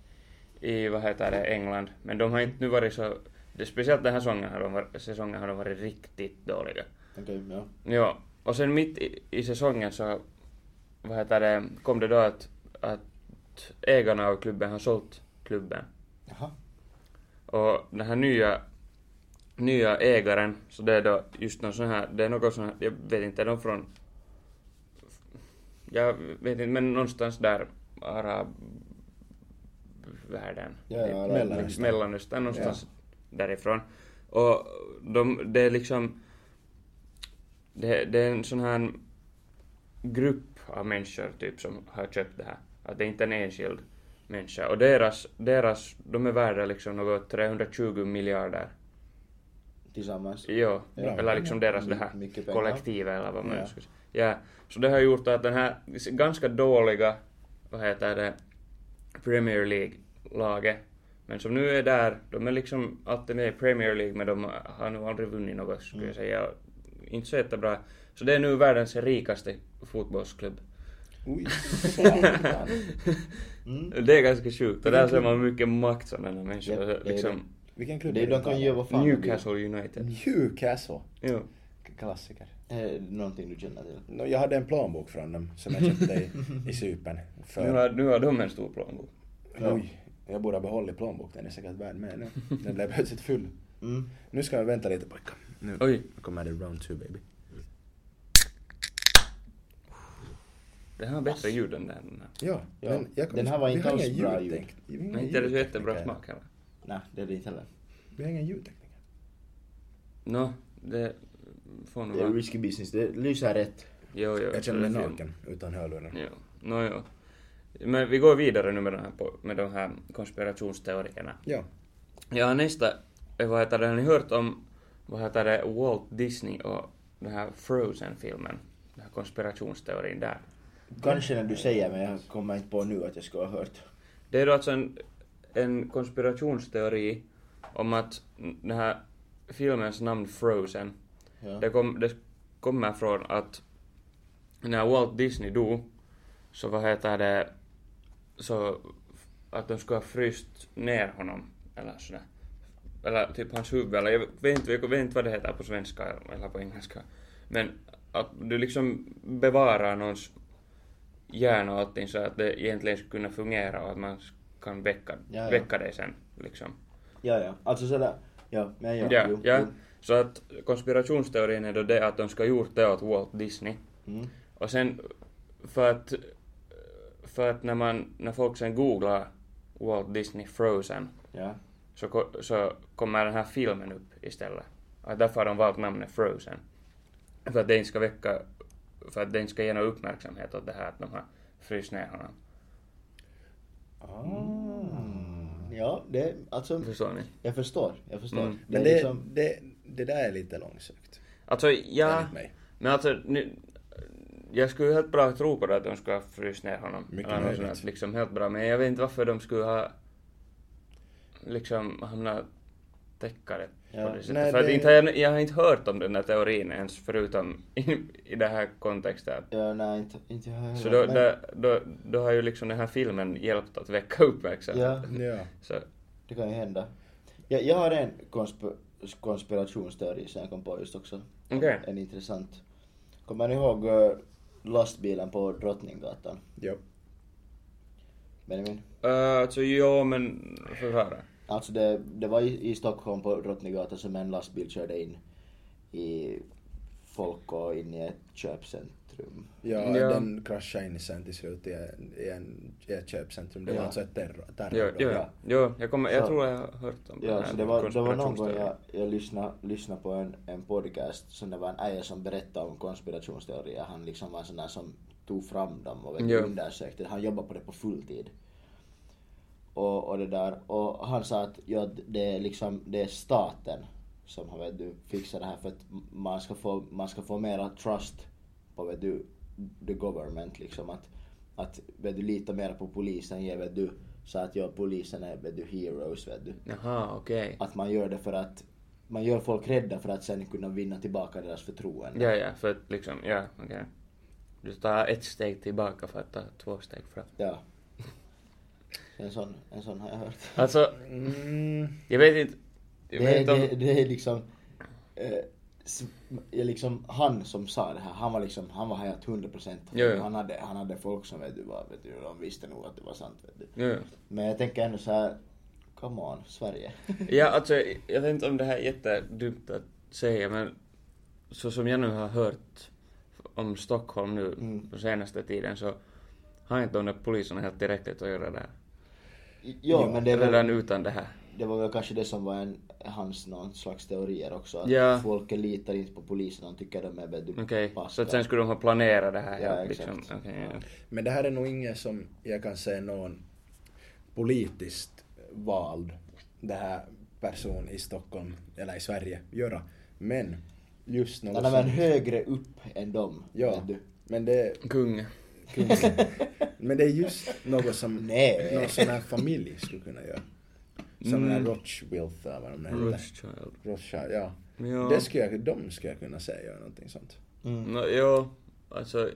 i vad heter det, England. Men de har inte nu varit så... Det, speciellt den här säsongen har, de varit, säsongen har de varit riktigt dåliga. Okej, ja. Ja, och sen mitt i, i säsongen så vad heter det, kom det då att, att ägarna av klubben har sålt klubben. Jaha. Och den här nya, nya ägaren, så det är då just någon sån här, det är något sån här, jag vet inte, är de från... Jag vet inte, men någonstans där, arabvärlden. Ja, typ. ja, Mellanöstern. Mellanöstern någonstans därifrån. Och de, det är liksom... Det, det är en sån här grupp av människor typ som har köpt det här. Att det är inte är en enskild människa. Och deras, deras, de är värda liksom något 320 miljarder. tillsammans. Jo, Ja. eller liksom deras det My- mycket här pengar. kollektiva eller vad man Ja. nu ska säga. Ja. Så det har gjort att den här ganska dåliga, vad heter det, Premier League-laget, men som nu är där, de är liksom alltid med i Premier League men de har nog aldrig vunnit något skulle jag säga. Och Inte så jättebra. Så det är nu världens rikaste fotbollsklubb. Oj. Mm. Det är ganska sjukt. Och där ser man hur mycket makt som den här människan Ja, det är liksom, Vilken klubb Det är de kan göra vad fan de vill. Newcastle Mm. United. Newcastle. Jo. Klassiker. Eh, Någonting du känner till. No, jag hade en plånbok från dem som jag köpte i, i Cypern. Nu För, har, nu har de en stor plånbok. oj, jag borde ha behållit plånboken, den är säkert värd mer nu. Den blev plötsligt full. Mm. Nu ska vi vänta lite pojkar. Nu Oj. kommer det round two baby. Det här har bättre ljud än den här. Ja, Ja, men jag kommer- den här var vi inte har alls ingen bra ljudtek- vi har ingen Men inte är det så jättebra ljudtekniker. smak heller. Nej, det är det inte heller. Vi har ingen ljudtekniker. Nå, det får nog Det är vara. risky business. Det lyser rätt. Jo, jo. Jag känner mig det är film. naken utan hörlurar. Jo, nå jo. Men vi går vidare nu med de här, på- med de här konspirationsteorierna. Ja. Ja, nästa. eh, Vad heter det? Har ni hört om vad heter det, Walt Disney och den här Frozen-filmen? Den här konspirationsteorin där. Kanske när du säger men jag kommer inte på nu att jag ska ha hört. Det är då alltså en, en konspirationsteori om att den här filmens namn Frozen, Ja. det, kom, det kommer från att när Walt Disney dog, så vad heter det, så att de skulle ha fryst ner honom, eller sådär. Eller typ hans huvud, eller jag vet inte, jag vet inte vad det heter på svenska eller på engelska. Men att du liksom bevarar någons hjärna och allting så att det egentligen skulle kunna fungera och att man kan väcka, Ja, ja. väcka det sen. Liksom. Ja, ja. Alltså sådär. Ja, men ja. Ja, jo, ja. jo. Så att konspirationsteorin är då det att de ska ha gjort det åt Walt Disney. Mm. Och sen för att, för att när, man, när folk sen googlar Walt Disney Frozen Ja. så, ko- så kommer den här filmen upp istället. Att därför har de valt namnet Frozen. För att det inte ska väcka, för att det inte ska ge någon uppmärksamhet åt det här att de har fryst ner honom. Ah. Ja, det, alltså, Förstår ni? jag förstår. Jag förstår. Mm. Det är Men det, liksom, det, det där är lite långsökt. Alltså, ja, Enligt mig. men alltså nu, jag skulle ju helt bra tro på det att de skulle ha fryst ner honom. Mycket Eller något möjligt. sånt här, liksom helt bra, men jag vet inte varför de skulle ha liksom hamnat täcka det Ja, på det sättet. nej, För att det- inte har jag, jag har inte hört om den här teorin ens förutom i, i den här kontexten. ja, nej, inte, inte jag Så heller, då, då, då, då har ju liksom den här filmen hjälpt att väcka uppmärksamhet. Ja, Ja. Så, det kan ju hända. Jag, jag har en konsp- konspirationsteori som jag kom på just också. Okej. En intressant. Kommer ni ihåg eh, lastbilen på Drottninggatan? ja. Benjamin? uh, alltså ja, men förklara. Alltså det, det var i, i Stockholm på Drottninggatan som en lastbil körde in i folk och in i ett köpcentrum. Ja, Ja. den kraschade in sen till slut i, en, i, en, i ett köpcentrum. Det var Ja. alltså ett terror. terror Jo, jo, ja. jo, jag, kommer, jag Så- tror jag har hört om den Ja, här så det var, det var någon gång konspirationsteorin. jag, jag lyssnade, lyssnade på en, en podcast som det var en äja som berättade om konspirationsteorier. Han liksom var en sån där som tog fram dem och vet, du, Ja. undersökte. Han jobbade på det på fulltid. Och, och det där. Och han sa att ja, det är liksom, det är staten som har vet du, fixat det här för att man ska få, man ska få mera trust på vet du, the government liksom. Att, att vet du, lita mer på polisen, ge vet du, så att ja, polisen är vet du, heroes vet du. Jaha, okej. Att man gör det för att man gör folk rädda för att sen kunna vinna tillbaka deras förtroende. Ja, ja, för att liksom, ja, okej. Du tar ett steg tillbaka för att ta två steg fram. Ja. En sån, en sån har jag hört. Alltså, Mm, jag vet inte... Jag vet Det, inte det, om... det är liksom, eh, s- är liksom han som sa det här, han var liksom, han var helt 100 procent. Ja, ja. Han hade, han hade folk som vet du, var, vet du, de visste nog att det var sant. Vet du. Jo, jo. Men jag tänker ändå så här Come on, Sverige. Ja, alltså, jag vet inte om det här är jättedumt att säga, men så som jag nu har hört om Stockholm nu Mm. på senaste tiden så har inte de där poliserna helt tillräckligt att göra där. Jo, jo men det är väl... Redan utan det här. Det var väl kanske det som var en, hans någon slags teorier också. Att Ja. folk litar inte på polisen, de tycker de är väldigt Okej, så passiva. att sen skulle de ha planerat det här. Ja, helt exakt. okej, ja. Men det här är nog inget som jag kan säga någon politiskt vald det här person i Stockholm eller i Sverige göra. Men just något Den är väl som- högre upp än dem. Ja, vet du. men det, Kung. men det är just något som Nej. någon sån här familj skulle kunna göra. Som den här Rothschild eller vad de heter. Rothschild. Rothschild, ja. Ja. Det skulle jag, de skulle jag kunna säga göra någonting sånt. Mm. No, jo, alltså...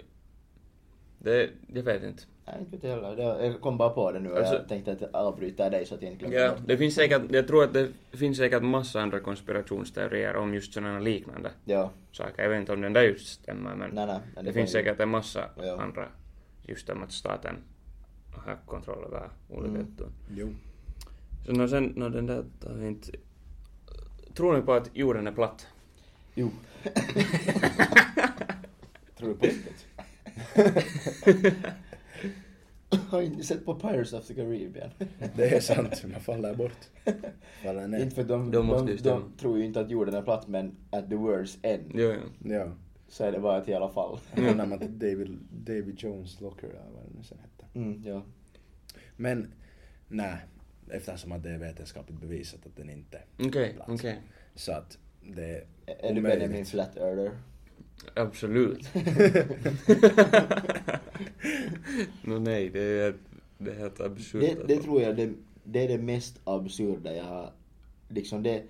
Det, jag vet inte. Nej, inte vet jag heller. Det- Jag kom bara på det nu och Alltså- jag tänkte att jag avbryter dig så att jag inte glömmer Ja, bort. det finns säkert, jag tror att det finns säkert massa andra konspirationsteorier om just sådana liknande Ja, saker. Jag vet inte om den där just stämmer men nej, nej. det, nej, finns var ju- säkert en massa Ja. andra just om att staten har kontroll över olika Mm. juttuja. Jo. Så no, sen, no, den där tar vi inte... Tror ni på att jorden är platt? Jo. Tror du på riktigt? Har inte sett på Pirates of the Caribbean? Det är sant, man faller bort. Faller ner. Inte för att de, De de, måste de, ju stämma. tror ju inte att jorden är platt men at the words end Jo, jo. Ja. så är det bara ett i alla fall. Hamnar man till David, David Jones Locker eller vad det nu sen hette. Mm, ja. Men, nej. Eftersom att det är vetenskapligt bevisat att den inte Okej, Platt. okej. Så att det är Är du omöjligt. Benjamin Flat Earther? Absolut. no nej, det är, det är helt absurt. alltså. Det, det tror jag det, det är det mest absurda jag har... Liksom det,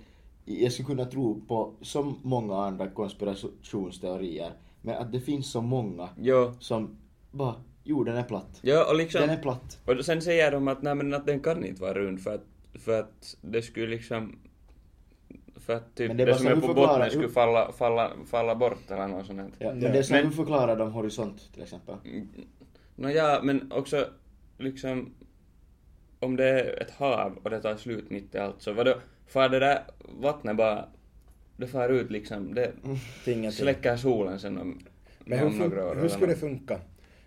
jag skulle kunna tro på så många andra konspirationsteorier men att det finns så många Jo, som bara jorden är platt. ja, och liksom... Den är platt. Och sen säger de att, nej, men att den kan inte vara rund för att, för att det skulle liksom... För att typ Men det, det var som så är hur på förklarar- botten skulle hur- falla, falla, falla bort eller något sånt. här. Ja, men det är som hur förklarar de horisont till exempel? Mm. Nå ja, men också liksom... Om det är ett hav och det tar slut mitt i allt så vadå? Far det där vattnet bara... Det far ut liksom, det Mm. Tinga till. släcker solen sen om, Men hur, om några år. fun- hur eller skulle det nåt. funka?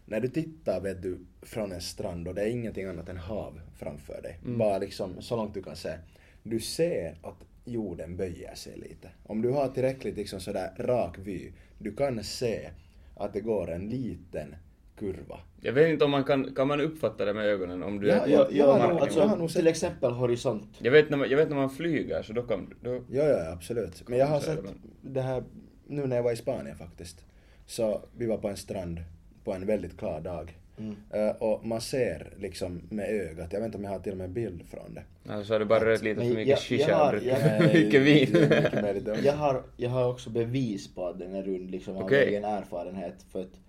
När du tittar vet du från en strand och det är ingenting annat än hav framför dig. Mm. Bara liksom så långt du kan se. Du ser att jorden böjer sig lite. Om du har tillräckligt liksom sådär rak vy, du kan se att det går en liten kurva. Jag vet inte om man kan, kan man uppfatta det med ögonen om du Ja, är... ja, på ja, marken? nog- alltså, jag har nog sett- till exempel horisont. Jag vet, när man, jag vet när man flyger så då kan då, Ja, ja, absolut. Men jag har Så är det sett det här nu när jag var i Spanien faktiskt. Så vi var på en strand på en väldigt klar dag. Mm. Eh, och man ser liksom med ögat, jag vet inte om jag har till och med en bild från det. alltså, har du bara rökt lite Men för jag- mycket jag shisha och har- druckit jag- för mycket vin. Det är mycket möjligt. Jag har, jag har också bevis på att den är rund liksom av Okej. egen erfarenhet för att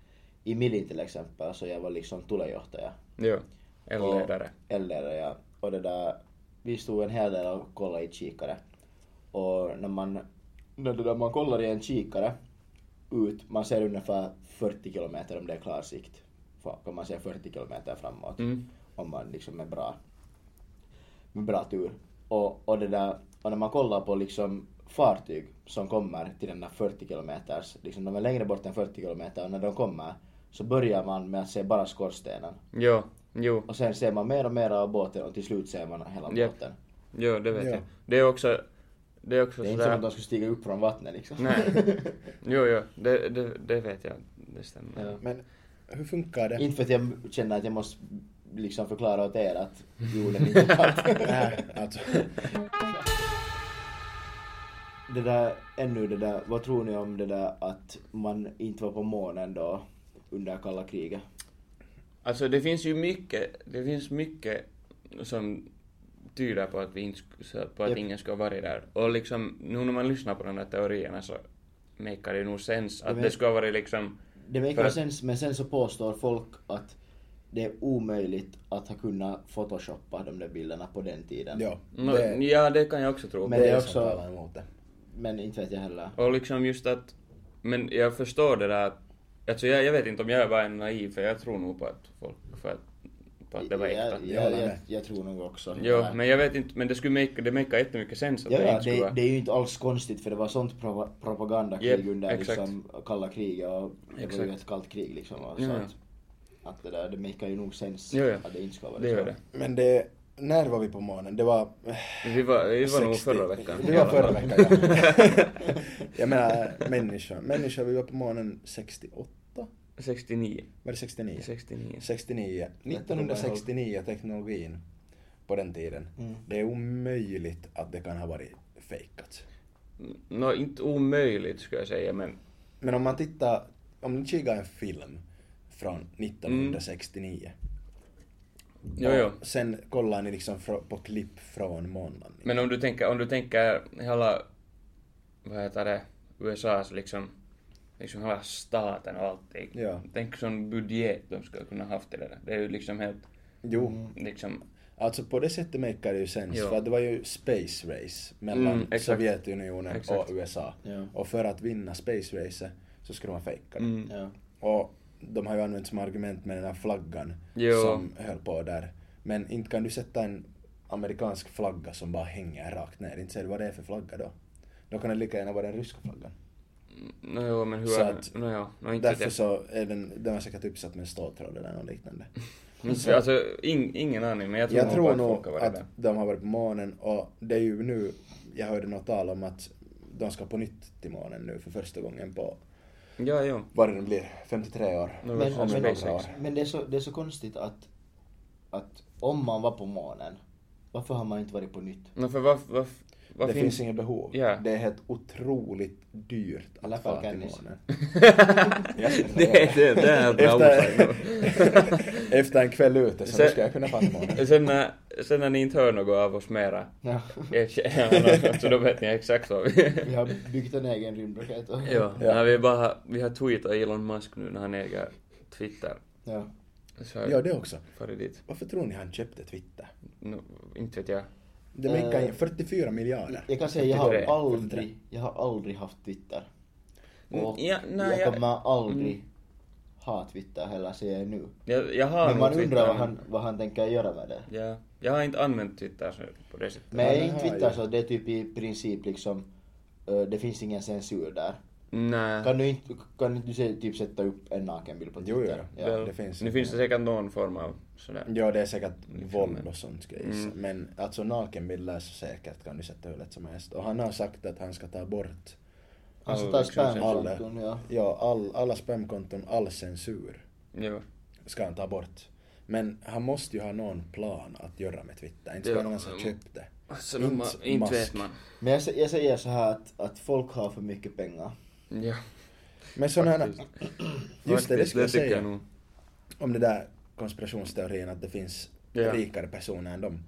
i Milin till exempel så jag var liksom tulejohtaja. jo, en Och- ledare. Eldledare ja. Och det där, vi stod en hel del och kollade i kikare. Och när man, när det där man kollar i en kikare ut, man ser ungefär 40 kilometer om det är klar sikt. Fa- Kan man se 40 kilometer framåt. Mm. Om man liksom är bra, med bra tur. Och, och det där, och när man kollar på liksom fartyg som kommer till den där 40 kilometers, liksom de är längre bort än 40 kilometer och när de kommer så börjar man med att se bara skorstenen Jo, jo, och sen ser man mer och mer av båten och till slut ser man hela Japp. båten. jo, det vet Ja. jag. Det är också, det är också Det är inte som att sådär... de skulle stiga upp från vattnet liksom. Nej. Jo, jo, det, det, det vet jag. Det stämmer. Ja. Men hur funkar det? Inte för att jag känner att jag måste liksom förklara åt er att jorden inte är platt. Nej, alltså. Det där, ännu det där, vad tror ni om det där att man inte var på månen då under kalla kriget? Alltså det finns ju mycket, det finns mycket som tyder på att, vi inte, sk- så- på att Japp. ingen ska vara där. Och liksom, nu när man lyssnar på de här teorierna så makar det nog sens att men- det ska ha varit liksom... Det För make att- sense, men sen så påstår folk att det är omöjligt att ha kunnat photoshoppa de där bilderna på den tiden. Ja. No, det, Ja, det kan jag också tro. Men på. det det är är som också- talar emot det. Men inte vet jag heller. Och liksom just att... Men jag förstår det där att... Alltså jag, jag vet inte om jag är bara en naiv, för jag tror nog på att folk... För att på att det var äkta. jag, Jag jag, håller jag, med. jag tror nog också. Jo, Ja. men jag vet inte, men det skulle make, det makear jättemycket sens att Ja, det ja inte skulle det, vara... det är ju inte alls konstigt för det var sånt pro- propagandakrig Jep, under exakt. liksom, kalla kriget och det var ju Exakt. ett kallt krig liksom. Och, Ja, så ja. att, att det där, det makear ju nog sens Ja, ja. att det inte ska vara Det gör det. Men det, när var vi på månen? Det var... Vi var, vi var nog 60. förra veckan. Det var förra veckan, ja. jag menar, människa. Människa, vi var på månen 68? 69. Var det 69? 69. 69. 1969, teknologin på den tiden. Det är omöjligt att det kan ha varit fejkat. Nå, inte omöjligt skulle jag säga, men... Men om man tittar, om ni kikar en film från 1969. Jo, och Mm. jo. Sen kollar ni liksom fro- på klipp från månaden. Men om du tänker, om du tänker hela, vad heter det, USAs liksom, liksom hela staten och allting. Ja. Tänk sån budget de skulle kunna haft till det där. Det är ju liksom helt, Jo, Mm. liksom, alltså på det sättet makar det ju sens. Jo. För att det var ju space race mellan Mm, exakt. Sovjetunionen Exakt. och USA. Ja. Och för att vinna space racet så skulle man fejka det. mm. Ja. Och de har ju använt som argument med den här flaggan Jo. som höll på där. Men inte kan du sätta en amerikansk flagga som bara hänger rakt ner. Inte ser du vad det är för flagga då. Då kan det lika gärna vara den ryska flaggan. Nå, jo, men hur Så är att- det? Nå, ja. Nå, inte att Därför jag, så är den, den var säkert uppsatt med en ståltråd eller något liknande. inte, alltså, ing, ingen aning, men jag tror, Jag tror nog folk har varit att där. de har varit på månen och det är ju nu, jag hörde något tal om att de ska på nytt till månen nu för första gången på, Ja, jo. vad det nu blir, 53 år. Nu Men, om men, SpaceX. men, det, är så, det är så konstigt att, att om man var på månen, varför har man inte varit på nytt? Nå, för vad, vad, vad det finns... finns, inget behov. Ja. Det är helt otroligt dyrt alla att fall fara till Kennis. månen. det, är- det, det är helt Efter, outside. efter en kväll ute så Sen- nu ska jag kunna fara till månen. Sen när, sen när ni inte hör något av oss mera, Ja. erkänna, så då vet ni exakt vad vi... Vi har byggt en egen rymdraket. och- Ja, Ja. Nej, vi, bara, vi har tweetat Elon Musk nu när han äger Twitter. Ja. Så Ja, det också. Före dit. Varför tror ni han köpte Twitter? No, inte vet jag. Det makar ju Eh. 44 miljarder. Jag kan säga, jag har 43. aldrig, jag har aldrig haft Twitter. Och Mm, ja, nej, jag jag- Mm. kommer aldrig ha Twitter heller, ser jag nu. Jag, jag har Men nog man Twitter, undrar vad men- han, vad han tänker göra med det. Ja, jag har inte använt Twitter så- på det sättet. Men är det inte har Twitter jag. så det är typ i princip liksom, eh, det finns ingen censur där. Nej. Kan du inte, kan inte du se- typ sätta upp en nakenbild på Jo, jo, Twitter? jo. Ja. det finns nu ju. finns det säkert någon form av sådär. Ja, det är säkert våld men- Mm. och sånt ska jag gissa. Men alltså nakenbilder så säkert kan du sätta hur lätt som helst. Och han har sagt att han ska ta bort Han ska Ja, ta liksom spamkonton, ja. ja, all, alla spamkonton, all censur Jo. ska han ta bort. Men han måste ju ha någon plan att göra med Twitter. Inte ska Ja. någon som köpt det. Alltså, Inte man, inte Musk. vet man. Men jag, sä- jag säger så här att, att folk har för mycket pengar. Ja. Men sådana här... Faktiskt. Just det, det Faktiskt, skulle jag tycker säga. Jag nog. om den där konspirationsteorin att det finns Ja. rikare personer än dem.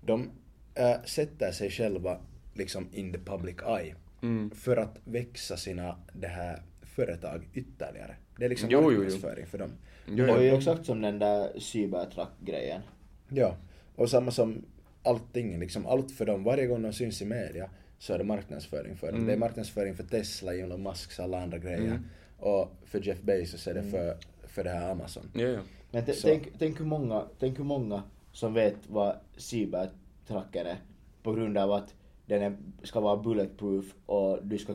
De äh, sätter sig själva liksom in the public eye Mm. för att växa sina det här företag ytterligare. Det är liksom Jo, jo, jo. marknadsföring för dem. Jo, Det var ju jo. exakt som den där cybertrack-grejen. Ja, och samma som allting, liksom allt för dem. Varje gång de syns i media så är det marknadsföring för dem. Mm. Det är marknadsföring för Tesla, Elon Musks, alla andra grejer. Och för Jeff Bezos är Mm. det för, för det här Amazon. Jo, jo. Men t- Så. tänk, tänk, hur många, tänk hur många som vet vad cybertracken är på grund av att den är, ska vara bulletproof och du, ska,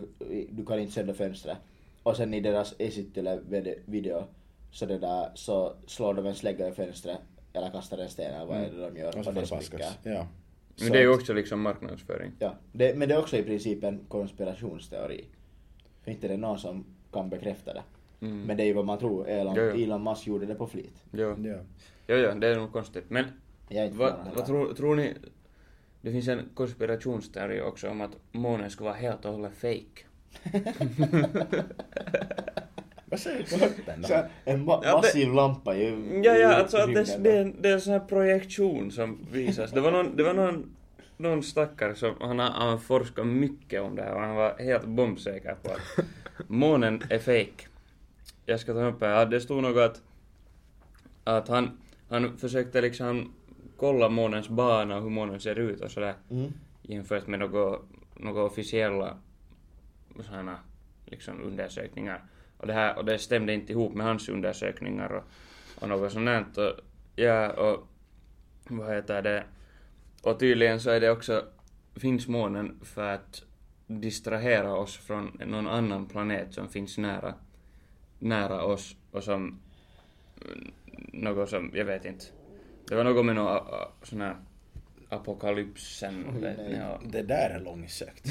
du kan inte sända fönstret. Och sen i deras Esityle-video så, det där, så slår de en slägga i fönstret eller kastar en sten eller vad är det de gör. Och så får det det spricker. vaskas. Mm. Ja. Men det är ju också liksom marknadsföring. Ja, det, men det är också i princip en konspirationsteori. För inte det är någon som kan bekräfta det. Mm. Men det är ju vad man tror. Elon, Jo, jo. Elon Musk gjorde det på flit. Jo. Ja. Jo, jo, det är nog konstigt. Men Jag är inte Vad, förvånad heller. vad tror, tror ni... Det finns en konspirationsteori också om att månen skulle vara helt och hållet fake. Vad säger korpen då? Så här, en ma- Ja, massiv lampa ju. Ja, i ja, alltså att det, rymden det, är då. en, det är en sån här projektion som visas. Det var någon, det var någon, någon stackare som han har han har forskat mycket om det här och han var helt bombsäker på att månen är fake. Jag ska ta upp här. Ja, Det stod nog att, att han, han försökte liksom kolla månens bana och hur månen ser ut och sådär. Mm. jämfört med några, några officiella såna, liksom, undersökningar. Och det, här, och det stämde inte ihop med hans undersökningar och, och något sånt där. Och, ja, och vad heter det? Och tydligen så är det också, finns månen för att distrahera oss från någon annan planet som finns nära, nära oss och som, mm, något som, jag vet inte. Det var något med någon a- a- sån här apokalypsen. vet ni, och- Det där är långsökt.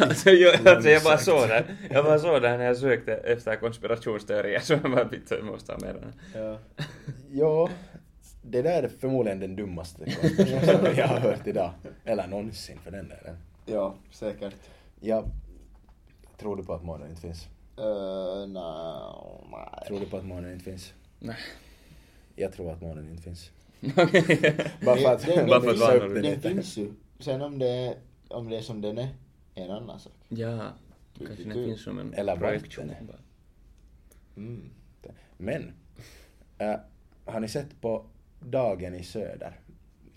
alltså, jag, alltså jag bara såg den. Jag bara såg den när jag sökte efter konspirationsteorier så jag bara vittu, jag måste ha med den. Ja. Ja, det där är förmodligen den dummaste konspirationen jag har hört idag. Eller någonsin för den delen. ja, säkert. Ja, tror du på att månen inte finns? Uh, no, Tror du på att månen inte finns? Nej. Jag tror att månen inte finns. Okej. Bara för att, Den, Bara den, för den, att vara den, annorlunda. finns ju. Sen om det, är- om det är som den är, är en annan sak. Ja, kanske det finns som en Eller projektion. vatten. bara. Mm. Men, äh, har ni sett på Dagen i söder?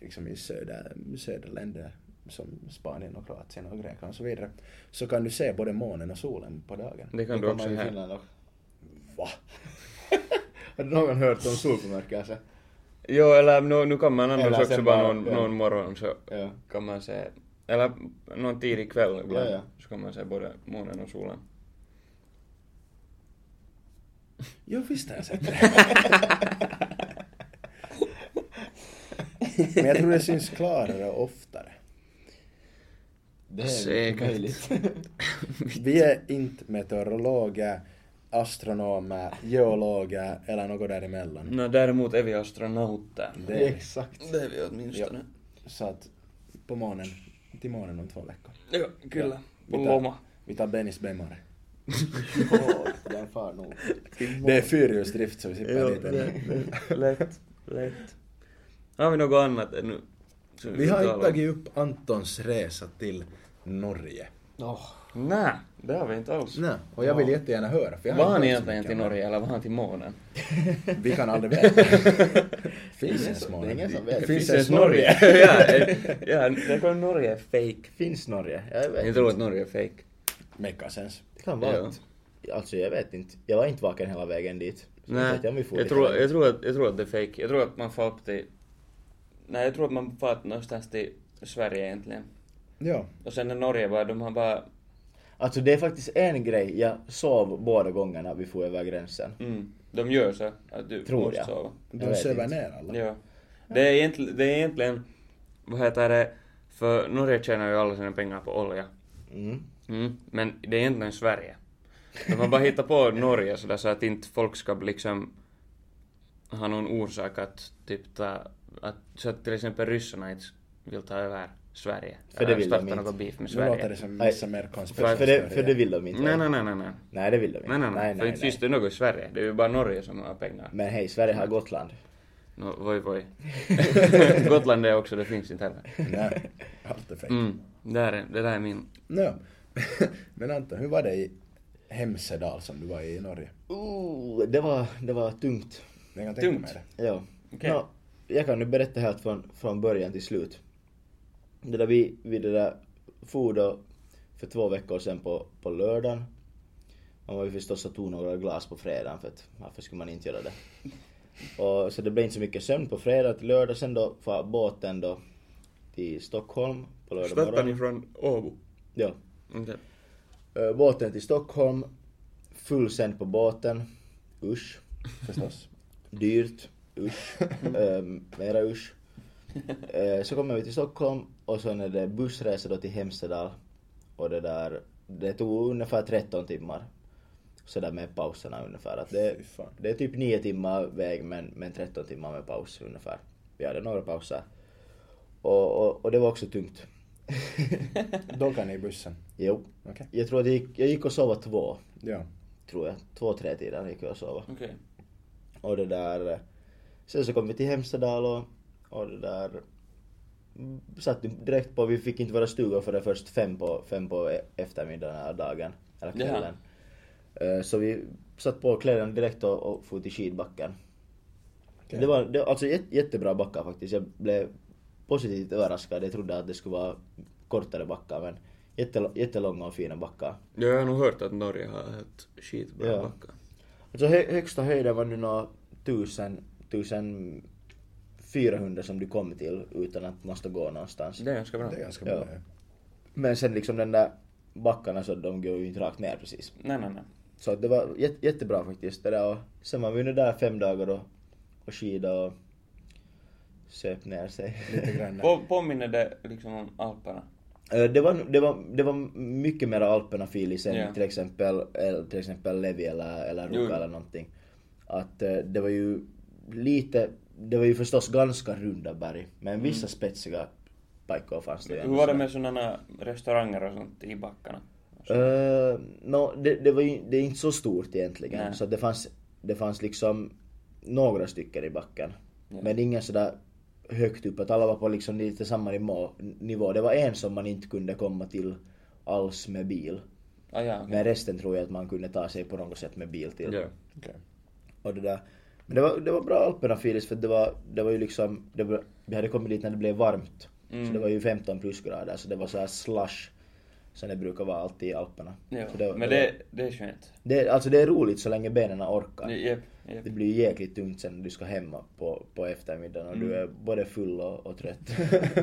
Liksom i söder, söderländer som Spanien och Kroatien och Grekland och så vidare. Så kan du se både månen och solen på dagen. Det kan Det du kan också man ju i här. Finland också. Va? Har någon hört om solförmörkelse? Jo, eller nu, nu kan man Eller annars också sen bara bara- någon, ja. någon morgon så Ja. kan man se, eller någon tidig kväll ibland Ja, ja. så kan man se både månen och solen. Jo, visst har jag sett det. Men jag tror det syns klarare och oftare. Det är Säkert. möjligt. Vi är inte meteorologer, astronomer, geologer eller något däremellan. No, däremot är vi astronauter. Det är, Exakt. Det är vi åtminstone. så att på månen, till månen om två veckor. Ja, kyllä. Mitä? Loma. Vi tar Bennys bemmare. Åh, den far nog. Det är fyrhjulsdrift så vi Jo, sippar dit det, ännu. det, lätt, lätt. Har vi något annat ännu? som Vi har talar inte om? tagit upp Antons resa till Norge. Åh, Nej, det har vi inte alls. Nej, och jag vill jättegärna höra. För jag har Var han inte hört så egentligen mycket om det. till Norge eller var han till månen? Vi kan aldrig veta. Finns Det är ens så- månen? det är ingen som vet. Finns Finns ens Norge? ja, eh, ja, jag tror Norge är fake. Finns Norge? Jag vet Jag tror att Norge är fake. Make sense. Det kan vara Ja. att- Alltså jag vet inte. Jag var inte vaken hela vägen dit. Så inte Nej, vet om vi for jag lite tror, längre. jag, tror att, jag tror att det är fake. Jag tror att man får upp till... Nej, jag tror att man får upp någonstans till Sverige egentligen. Ja. Och sen är Norge bara, de har bara... Alltså det är faktiskt en grej. Jag sov båda gångerna vi for över gränsen. Mm, de gör så att du Tror måste jag. sova. De vet söver inte. ner alla. Ja. Det är egentligen, det är egentligen vad heter det, för Norge tjänar ju alla sina pengar på olja. Mm. Mm. Men det är egentligen Sverige. De har bara hittat på Norge sådär så att inte folk ska liksom ha någon orsak att typ ta, att, så att till exempel ryssarna inte vill ta över Sverige. För det Eller vill de starta inte. något beef med Nu låter det Sverige. som Nej. massa mer För, för, det, för det konspirationsteorier. vill de inte. Nej, nej, nej, nej, nej. Nej, det vill de inte. Nej, nej, nej. För inte finns det något i Sverige. Det är ju bara Norge som har pengar. Men hej, Sverige har Gotland. No, voi voi. Gotland är också, det finns inte heller. Nej, allt är fake. Mm, där är, det där är min... Nå, Men Anton, hur var det i Hemsedal som du var i i Norge? Ooh, det, var, det var tungt. Jag kan tänka mig Tungt. det. Ja. Okej. Nå, jag kan nu berätta helt från, från början till slut. Det där vi, vi det där for då för två veckor sedan på, på lördagen. Man var ju förstås och tog några glas på fredagen för att varför skulle man inte göra det? Och, så det blev inte så mycket sömn på fredag till lördag. Sen då far båten då till Stockholm på lördag Startar ni morgon. från Åbo? Ja. Okej. Eh, Båten till Stockholm. Full sänd på båten. Usch. Förstås. Dyrt. Usch. Mm. um, mera usch. Eh, så kommer vi till Stockholm och sen är det bussresa då till Hemsedal. Och det där, det tog ungefär 13 timmar. Sådär med pauserna ungefär. Att det, Fy fan. det är typ 9 timmar väg men, men 13 timmar med paus ungefär. Vi hade några pauser. Och, och, och det var också tungt. Dockade ni i bussen? jo. Okej. Jag tror att jag gick, jag gick och sov två, Ja. tror jag. Två, tre tider gick jag och sov. Okej. Och det där... eh, Sen så kom vi till Hemsedal och, och det där... mm, Satt direkt på, vi fick inte vara i stugan förrän först fem på, fem på e- eftermiddagen eller dagen. Eller Jaha. kvällen. Eh, Så vi satt på kläderna direkt och, och for till skidbacken. Okej. Det var, det, var alltså jät- jättebra backar faktiskt. Jag blev positivt överraskad. Jag trodde att det skulle vara kortare backar men jättelå- jättelånga och fina backar. Ja, jag har nog hört att Norge har ett skitbra Ja. backa. Alltså hö högsta höjden var nu nå tusen, tusen 400 som du kom till utan att måste gå någonstans. Det är ganska bra. Det är ganska Ja. bra. Ja. Men sen liksom den där backarna så de går ju inte rakt ner precis. Nej, nej, nej. Så att det var jät- jättebra faktiskt det där och sen var vi nu där fem dagar och, och skida och söp ner sig. Lite grann. På, påminner det liksom om Alperna? Eh, Det var, det, var, det var mycket mer Alperna-feelis än Ja. till, exempel, eller, till exempel Levi eller, eller Jo. Ruka eller någonting. Att eh, det var ju lite, det var ju förstås ganska runda berg, men vissa spetsiga pajkor fanns det ju Mm. Hur ändå var det sådär. med sådana restauranger och sånt i backarna? Eh, nå, det, det var ju, det är inte så stort egentligen. Nej. Så att det fanns, det fanns liksom några stycken i backen. Ja. Men ingen sådär högt upp, att alla var på liksom lite samma nivå, nivå. Det var en som man inte kunde komma till alls med bil. Ah, ja, okej. Men resten tror jag att man kunde ta sig på något sätt med bil till. Ja. Okej. Och det där. Men det var, det var bra Alperna-feelings för det var, det var ju liksom, det var, vi hade kommit dit när det blev varmt. Mm. Så det var ju 15 plusgrader, så det var så här slush. Som det brukar vara alltid i Alperna. Ja. Så det, Men det, det är skönt. det, alltså det är roligt så länge benen orkar. Jep, jep. Det blir ju jäkligt tungt sen när du ska hemma på, på eftermiddagen och du Mm. är både full och, och trött.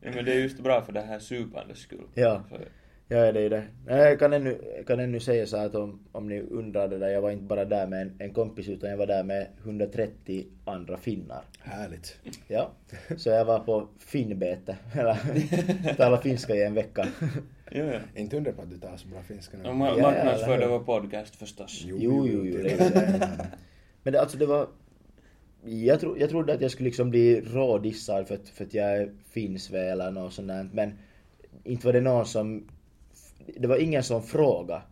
Ja, men det är just bra för det här supandets skull. Ja. För- ja, det är ju det. Nej, Jag kan ännu, jag kan ännu säga så här att om, om ni undrar det där, jag var inte bara där med en, en kompis utan jag var där med 130 andra finnar. Härligt. Ja, så jag var på finnbete, eller tala finska i en vecka. Jo, ja. Inte undra på att du tar så bra finska nu. Och ma- Ja, marknadsförde eller hur? vår podcast förstås. Jo, jo, jo, det är det. Men det, alltså det var... Jag, tro, jag trodde att jag skulle liksom bli rådissad för att, för att jag är finsve eller något sånt där. Men inte var det någon som... Det var ingen som frågade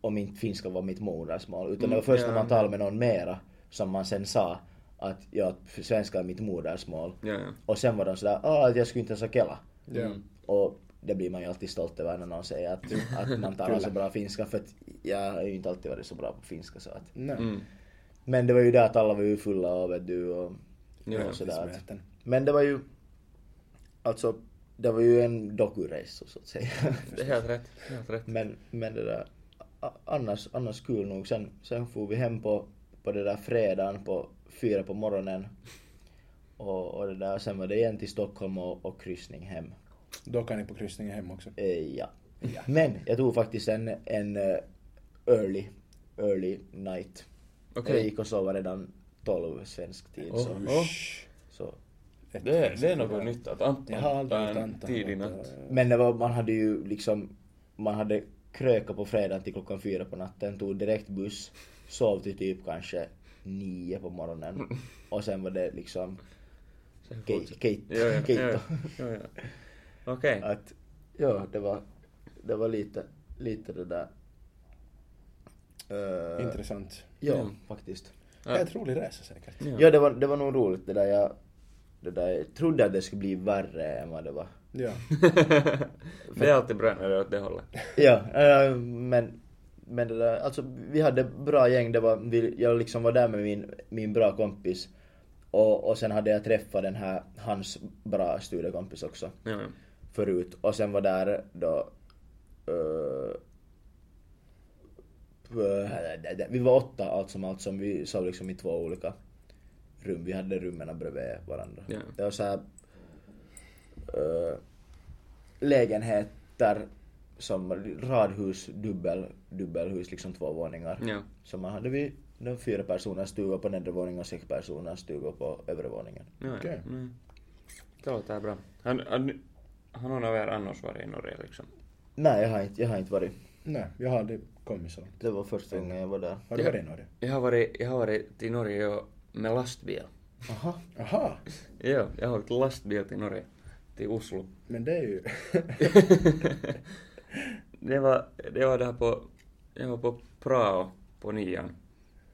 om inte finska var mitt modersmål. Utan det var först när man talade med någon mera som man sen sa att ja, svenska är mitt modersmål. Ja, ja. Och sen var de sådär, ah, att jag skulle inte ens ha kela. Mm. Ja. Och det blir man ju alltid stolt över när någon säger att, att man talar så bra finska för att jag har ju inte alltid varit så bra på finska så att. Nej. Mm. Men det var ju det att alla var ju fulla av vet du och, Ja, och sådär. Att, Smeten. men det var ju, alltså det var ju en dokuresa så att säga. Det är helt rätt. Helt rätt. men, men det där, a- annars, annars kul nog. Sen, sen for vi hem på, på det där fredagen på fyra på morgonen. Och, och det där, sen var det igen till Stockholm och, och kryssning hem. Då kan ni på kryssningen hem också. Eh, ja. Men jag tog faktiskt en, en eh, early, early night. Jag Okej. Oh, gick och sov redan 12 svensk tid. Så, Usch. så. Ett Det, är- det är tusen något kronor. nytt att Anton Jag har aldrig tar gjort en Anton. tidig något, natt. eh, Men det var, man hade ju liksom, man hade kröka på fredagen till klockan fyra på natten, tog direkt buss, sov till typ kanske nio på morgonen. Och sen var det liksom ke- ke- Ja, ja, ja, keitto. ja, ja. Okej. Att, ja, det var, det var lite, lite det där. Eh, Intressant. Ja, Ja. faktiskt. Ja. Helt rolig resa säkert. Ja. Ja, det var, det var nog roligt det där. Jag, det där. jag trodde att det skulle bli värre än vad det var. Ja. Det är alltid bra när det är åt det hållet. Ja, eh, men, men det där, alltså vi hade bra gäng. Det var, vi, jag liksom var där med min, min bra kompis. Och, och sen hade jag träffat den här, hans bra studiekompis också. Ja, ja. Förut. Och sen var där då... eh, eh, vi var åtta allt som allt som. Vi sov liksom i två olika rum. Vi hade rummen bredvid varandra. Ja. Det var så här, eh, lägenheter som radhus, dubbel, dubbelhus, liksom två våningar. Ja. Så man hade vi de fyra personer stuga på nedre våningen och sex personer stuga på övre våningen. Ja, ja. Okej. Mm. Det låter bra. Han, han, har någon av er annars varit i Norge liksom? Nej, jag har inte, jag har inte varit. Nej, jag har aldrig kommit så långt. Det var första gången jag var där. Har du Ja. varit i Norge? Jag har varit, jag har varit till Norge och- med lastbil. Aha. Aha! Ja, jag har åkt lastbil till Norge, till Oslo. Men det är ju... det, var, det var där på, jag var på Prao på nian,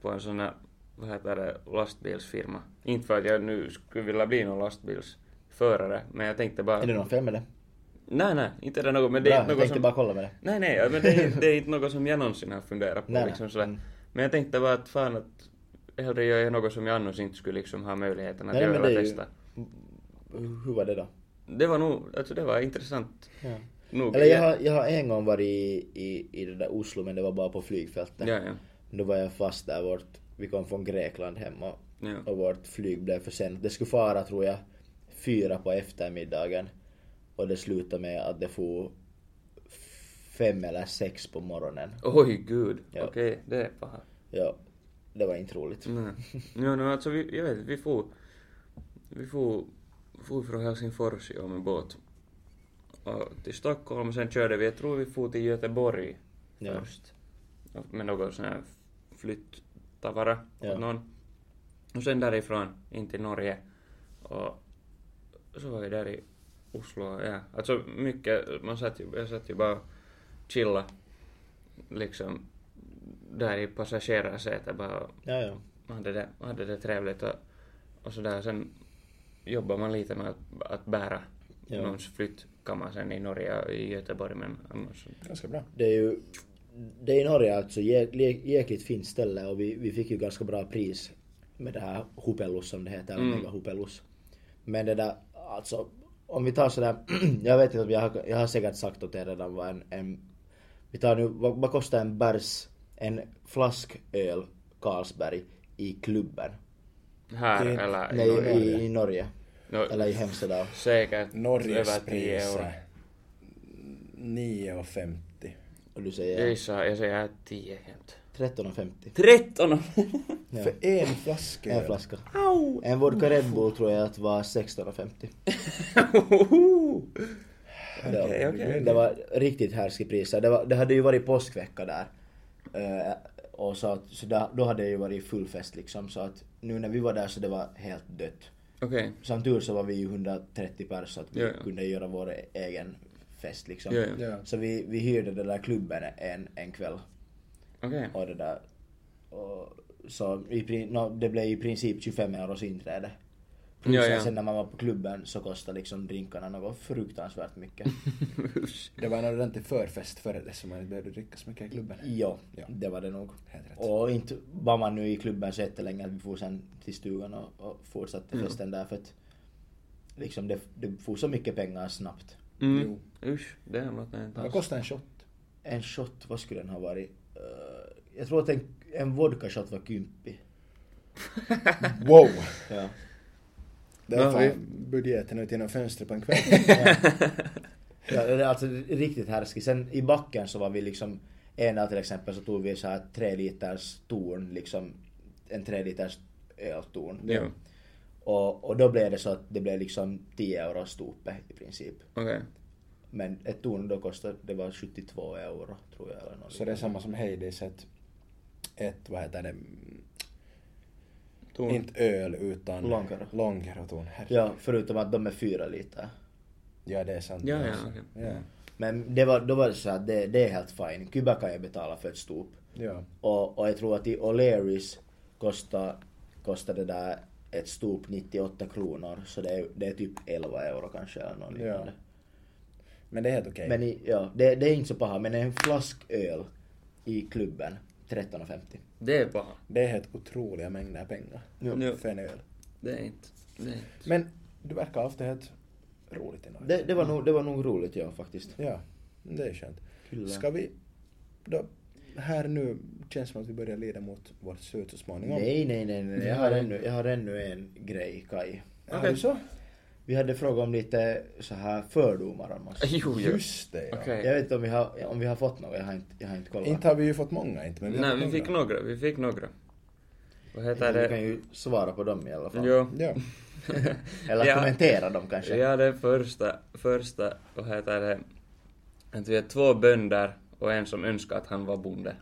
på en sån här, vad heter det, lastbilsfirma. Inte för att jag nu skulle vilja bli någon lastbilsförare, men jag tänkte bara... Är det något fel med det? Nej, nej, inte är det något, men det Bra, är jag inte något tänkte som... bara kolla med det. Nej, nej, ja, men det är, det är inte något som jag någonsin har funderat på. Nej, nej. liksom sådär. Mm. Men jag tänkte bara att fan att hellre gör jag något som jag annars inte skulle liksom ha möjligheten att Nej, göra men eller det är ju- testa. Hur- Hur var det då? Det var nog, alltså det var intressant Ja. nog. Eller jag har, jag har en gång varit i, i, i det där Oslo men det var bara på flygfältet. Ja, ja. Då var jag fast där bort. Vi kom från Grekland hem och Ja. och vårt flyg blev försenat. Det skulle fara, tror jag, fyra på eftermiddagen och det slutade med att det for fem eller sex på morgonen. Oj gud, Ja. okej, det är paha. Ja, det var inte roligt. Nej. Jo, no, alltså vi, jag vet vi får Vi får, får från Helsingfors i år med båt. Och till Stockholm, sen körde vi, jag tror vi får till Göteborg Ja. först. Och Med någon sån här flyttavara Ja. åt någon. Och sen därifrån in till Norge. Och så var vi där i Oslo, ja. Alltså mycket, man satt ju, jag satt ju bara och chilla liksom där i passagerarsätet bara och Ja, ja. man hade det, man hade det trevligt och, och sådär. Sen jobbar man lite med att, att bära Ja. någons flyttkammare sen i Norge och i niin Göteborg men annars... Ganska bra. Det är ju... Det är i Norge alltså jä- jä- jäkligt fint ställe och vi, vi fick ju ganska bra pris med det här Hupelus som det heter, mm. Mega Hupelus. Men det där, alltså om vi tar sådär, jag vet inte om jag har, jag har säkert sagt åt er redan vad en, en vi tar nu, vad, vad kostar en bärs, en flasköl Carlsberg i klubben? Här Det- eller Nej, i Norge. i, i Norge. No, Eller i Hemsedal. säkert över Norges 10 euro. priser. 9,50. Och du Jag säger gissar, jag säger 10 jämt. 13,50. 13! Ja. För en flaska En öl. flaska. En vodka Red Bull tror jag att var 16,50. Ja. Okej, okej. Det var riktigt härskiga priser. Det, var, det hade ju varit påskvecka där. Eh, och så att, så där, då hade det ju varit full fest liksom. Så att nu när vi var där så det var helt dött. Okej, Som tur så var vi ju 130 pers så att vi Ja, ja. kunde göra vår egen fest liksom. Ja, ja. Ja. Så vi, vi hyrde den där klubben en, en kväll. okej. Och det där. Och, så i, pri- no, det blev i princip 25 euros inträde. Plus Ja, att ja. sen när man var på klubben så kostade liksom drinkarna något fruktansvärt mycket. Usch. Det var en ordentlig förfest före det som man inte behövde dricka så mycket i klubben. ja, Ja. det var det nog. Helt rätt. Och inte var man nu i klubben så jättelänge att vi for sen till stugan och, och fortsatte Mm. festen där för att liksom det, det for så mycket pengar snabbt. Mm. Jo. Usch, det är något jag inte Vad alls. kostar en shot? En shot, vad skulle den ha varit? Eh, jag tror att en, en vodka shot var kymppi. Wow! Ja. Det är Ja, vi- fan budgeten ut genom fönstret på en kväll. Ja, det är alltså riktigt härskigt. Sen i backen så var vi liksom, en dag till exempel så tog vi så här tre liters torn, liksom en tre liters öltorn. Jo, Och, och då blev det så att det blev liksom 10 euro stopet i princip. okej. Men ett torn då kostade, det var 72 euro tror jag eller något. Så det är samma som Hades, ett, ett vad heter det, Torn. inte öl utan Långkaro. långkaroton. Herre- Ja, förutom att de är fyra liter. ja, det är sant. Ja, det ja, också. okej. ja. Men det var, då var det så att det, det är helt fine. Kuba kan jag betala för ett stop. ja. Och, och jag tror att i O'Learys kostar, kostar det där ett stop 98 kronor. Så det är, det är typ 11 euro kanske eller något liknande. Men det är helt okej. Men i, ja, det, det är inte så paha. Men en flasköl i klubben, 13,50. Det är bara... Det är helt otroliga mängder pengar Jo. Jo. för en öl. Det är inte... Det är inte. Men du verkar ha haft det helt roligt i Norge. Det, det, var nog, det var nog roligt ja faktiskt. Ja, det är skönt. Kyllä. Ska vi då, här nu känns som att vi börjar leda mot vårt slut så småningom. Nej, nej, nej, nej. Jag har ännu, jag har ännu en grej Kai. Har Okej. du så? Vi hade fråga om lite så här fördomar om oss. Jo, jo. Just det ja. Okej. Jag vet inte om vi har, om vi har fått något, jag har inte, jag har inte kollat. Inte har vi ju fått många inte, men vi har Nej, fått vi fick några. några, vi fick några. Vad heter Men vi kan det? ju svara på dem i alla fall. Jo. Ja. Eller Ja. kommentera dem kanske. Ja, det första, första, vad heter det? Att vi är två bönder och en som önskar att han var bonde.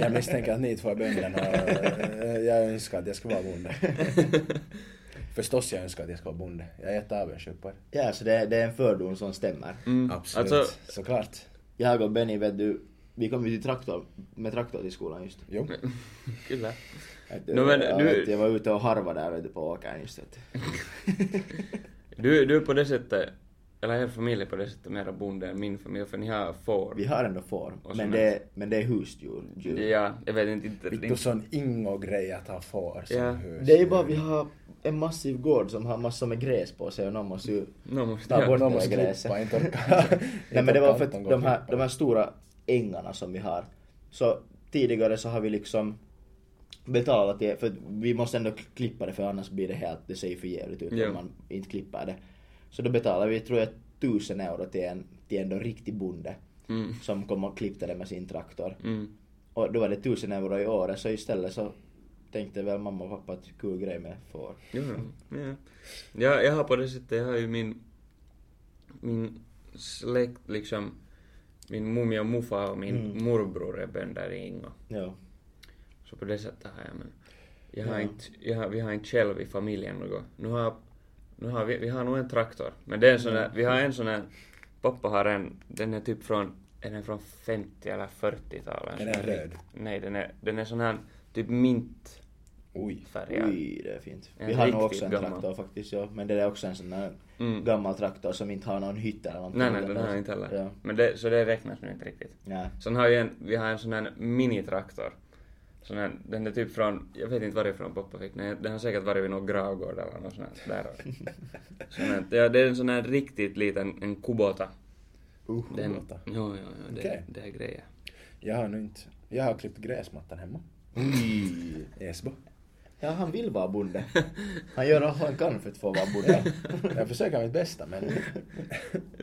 Jag misstänker att ni två är bönderna och jag önskar att jag ska vara bonde. Förstås jag önskar att jag ska vara bonde. Jag är jätteavundsjuk på er. Ja, så det, är- det är en fördom som stämmer. Mm. Absolut. Alltså, Såklart. Jag och Benny vet du, vi kom ju till traktor, med traktor till skolan just. Jo. kyllä. Att, No, men jag, du- vet, jag var ute och harvade där vet du, på åkern just. Att, Du, du är på det sättet, eller er familj är på det sättet mera bonde än min familj, för ni har får. vi har ändå får, Och men sånt. det, är- men det är husdjur. djur. Ja, jag vet inte. inte, Vittu inte. sån ingo-grej att ha far som Ja. hus. Det är ju bara, vi har en massiv gård som har massor med gräs på sig och någon måste ju No, måste ta jag. bort Någon det där måste gräset. klippa, inte orka. Nej men det var för att Inte orka de här, klippa. de här stora ängarna som vi har, så tidigare så har vi liksom betala till, för vi måste ändå klippa det för annars blir det helt, det ser ju för jävligt ut Ja. om man inte klipper det. Så då betalar vi, tror jag, tusen euro till en, till en då riktig bonde Mm. som kom och klippte det med sin traktor. Mm. Och då var det tusen euro i året, så istället så tänkte väl mamma och pappa att kul grej med får. Jo, ja. Mm. ja. Jag, jag har på det sättet, jag har ju min, min släkt liksom, min mummi och morfar och min Mm. morbror är bönder i Ingå. Ja. Så på det sättet har jag men. Jag har Ja. inte, jag har, vi har inte själv i familjen något. Nu har, nu har vi, vi har nog en traktor. Men det är en sån där, vi har en sån där, pappa har en, den är typ från, är den från 50 eller 40-talet? Är den röd? Nej, den är, den är sån här typ mintfärgad. Oj. Oj, det är fint. En Vi har nog riktigt också en gammal. traktor faktiskt, ja. Men det är också en sån där Mm. gammal traktor som inte har någon hytt eller någonting. Nej, nej, den har jag inte heller. Ja. Men det, så det räknas nu inte riktigt. Nej. Sen har vi en, vi har en sån här minitraktor. Sån här, den är typ från, jag vet inte varifrån pappa fick den, den har säkert varit vid någon gravgård eller något sånt här. Där. sån här, ja, det är en sån här riktigt liten, en kubota. Uh, Den, låta. jo, jo, jo, det, Okej. det är grejer. Jag har nu inte... Jag har klippt gräsmattan hemma. Esbo. Ja, han vill vara bonde. Han gör allt han kan för att få vara bonde. Jag försöker mitt bästa men...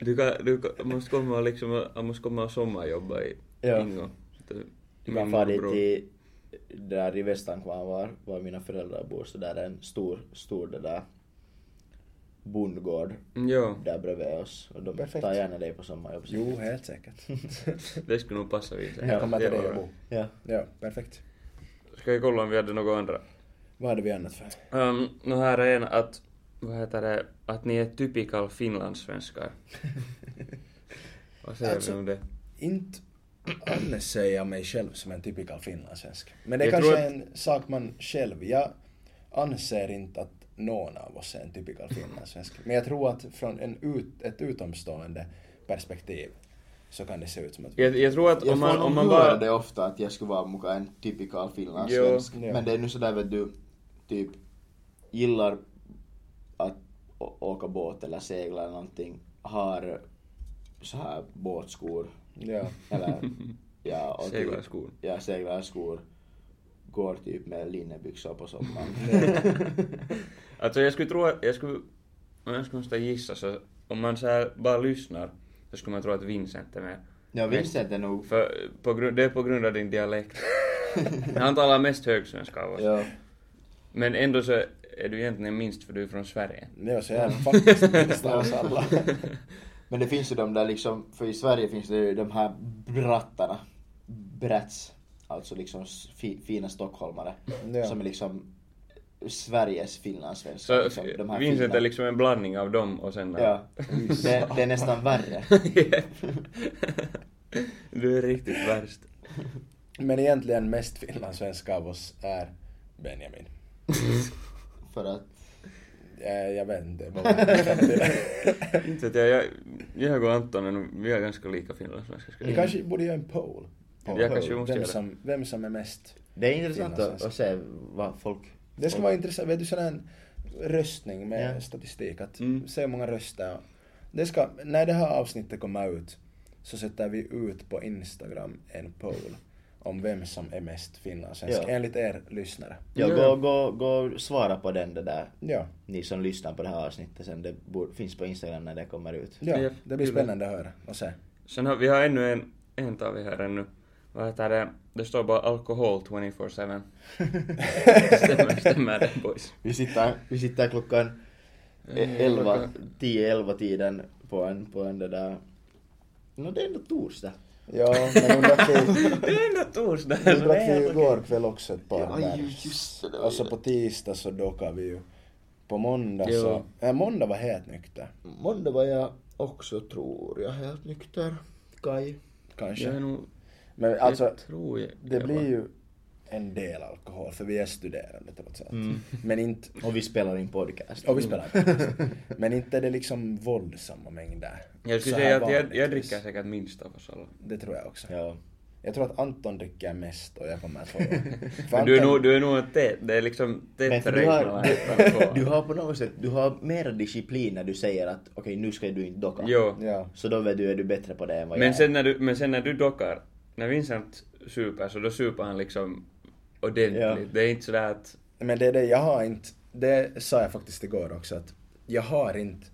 Du, kan, du kan- måste komma och liksom, jag måste komma och sommarjobba i Ja. Ingo. Sitten Du min kan fara dit morbror. till där i Västankvarn var, var mina föräldrar bor, så där är en stor, stor det där bondgård Mm, Jo, där bredvid oss. Och de Perfekt. tar gärna dig på sommarjobb. Jo, helt säkert. det skulle nog passa vid sig. Jag kommer till Det dig var och bra. bo. Ja. Ja, perfekt. Ska vi kolla om vi hade något andra? Vad hade vi annat för? Um, no här är en att, vad heter det, att ni är typical finlandssvenskar. Vad säger Alltså, vi om det? Inte alls säger jag mig själv som en typical finlandssvensk. Men det är Jag kanske tror att- är en sak man själv... Jag anser inte att någon av oss är en typical finlandssvensk. Men jag tror att från en ut, ett utomstående perspektiv så kan det se ut som att vi... Jag, jag tror att Jag om man, får om nog man höra bara... det ofta att jag skulle vara muka en typical finlandssvensk. Jo. Men det är nu sådär vet du, typ gillar att å- åka båt eller segla eller någonting. Har så här båtskor. Ja. Eller ja, och typ- Seglarskor. Ja, seglarskor. Går typ med linnebyxor på sommaren. Alltså jag skulle tro att, jag skulle, om jag skulle måste gissa så, om man så här bara lyssnar så skulle man tro att Vincent är med. ja, Vincent är nog... För på grund, det är på grund av din dialekt. Han talar mest högsvenska av oss. Ja. Men ändå så är du egentligen minst för du är från Sverige. Ja, så jag är faktiskt minst av oss alla. Men det finns ju de där liksom, för i Sverige finns det ju de här brattarna. Brats. Alltså liksom s- fi, fina stockholmare. Ja. Som är liksom Sveriges finlandssvenskar. Så Liksom, de här Vincent fina. är liksom en blandning av dem och sen... Ja. Det, det är nästan värre. du är riktigt värst. Men egentligen mest finlandssvenska av oss är Benjamin. För att... Eh, jag vet inte. vad man- Inte vet jag, jag, jag och Anton är nog, vi är ganska lika finlandssvenskar. skulle Vi jag kanske borde göra en poll. säga. Jag kanske måste Vem göra som, vem som är mest. Det är intressant att, Finlandssvenskar. att se vad folk... Det skulle vara intressant. Vet du sån här röstning med Ja. statistik. Att Mm. se hur många röster. Det ska, när det här avsnittet kommer ut så sätter vi ut på Instagram en poll om vem som är mest finlandssvensk. Ja. Enligt er lyssnare. Ja, Ja. gå, gå, gå och svara på den det där. Ja, Ni som lyssnar på det här avsnittet sen. Det bor, finns på Instagram när det kommer ut. ja Japp, det blir kul. spännande att höra och se. Sen har vi har ännu en, en tar vi här ännu. Vad heter det? Det står bara alkohol 24-7. stämmer, stämmer det boys? Vi sitter, vi sitter klockan Eh, e- Mm, 11, klockan- 10-11 tiden på en, på en det där... No det är ändå torsdag. Ja, men hon drack ju, Det är ändå torsdag! hon drack ju igår kväll också ett par Ja, bärs. ju, just det, det var Och så ju på tisdag så dokade vi ju. På måndag Jo. så... Äh, måndag var helt nykter. Måndag var jag också tror jag helt nykter. Kai. Kanske. Jag är nog, Men alltså, jag tror jag, det jag var- blir ju en del alkohol för vi är studerande trots allt. Mm. Men inte... Och vi spelar in podcast. Och vi spelar inte. Men inte är det liksom våldsamma mängder. Jag skulle Så här säga att jag, jag vanligtvis. dricker säkert minst av oss alla. Det tror jag också. Ja. Jag tror att Anton dricker mest och jag kommer att få... För Men du är Anton- nog, du är nog en tät, det är liksom Men tätt för du har, räknat du, du har på något sätt, du har mer disciplin när du säger att okej nu ska du inte docka. Jo. Ja. Så då vet du, är du bättre på det än vad Men jag sen, när du, men sen när du dockar, när Vincent super så då super han liksom ordentligt. Ja. Det är inte sådär att... Men det är det, jag har inte, det sa jag faktiskt igår också att jag har inte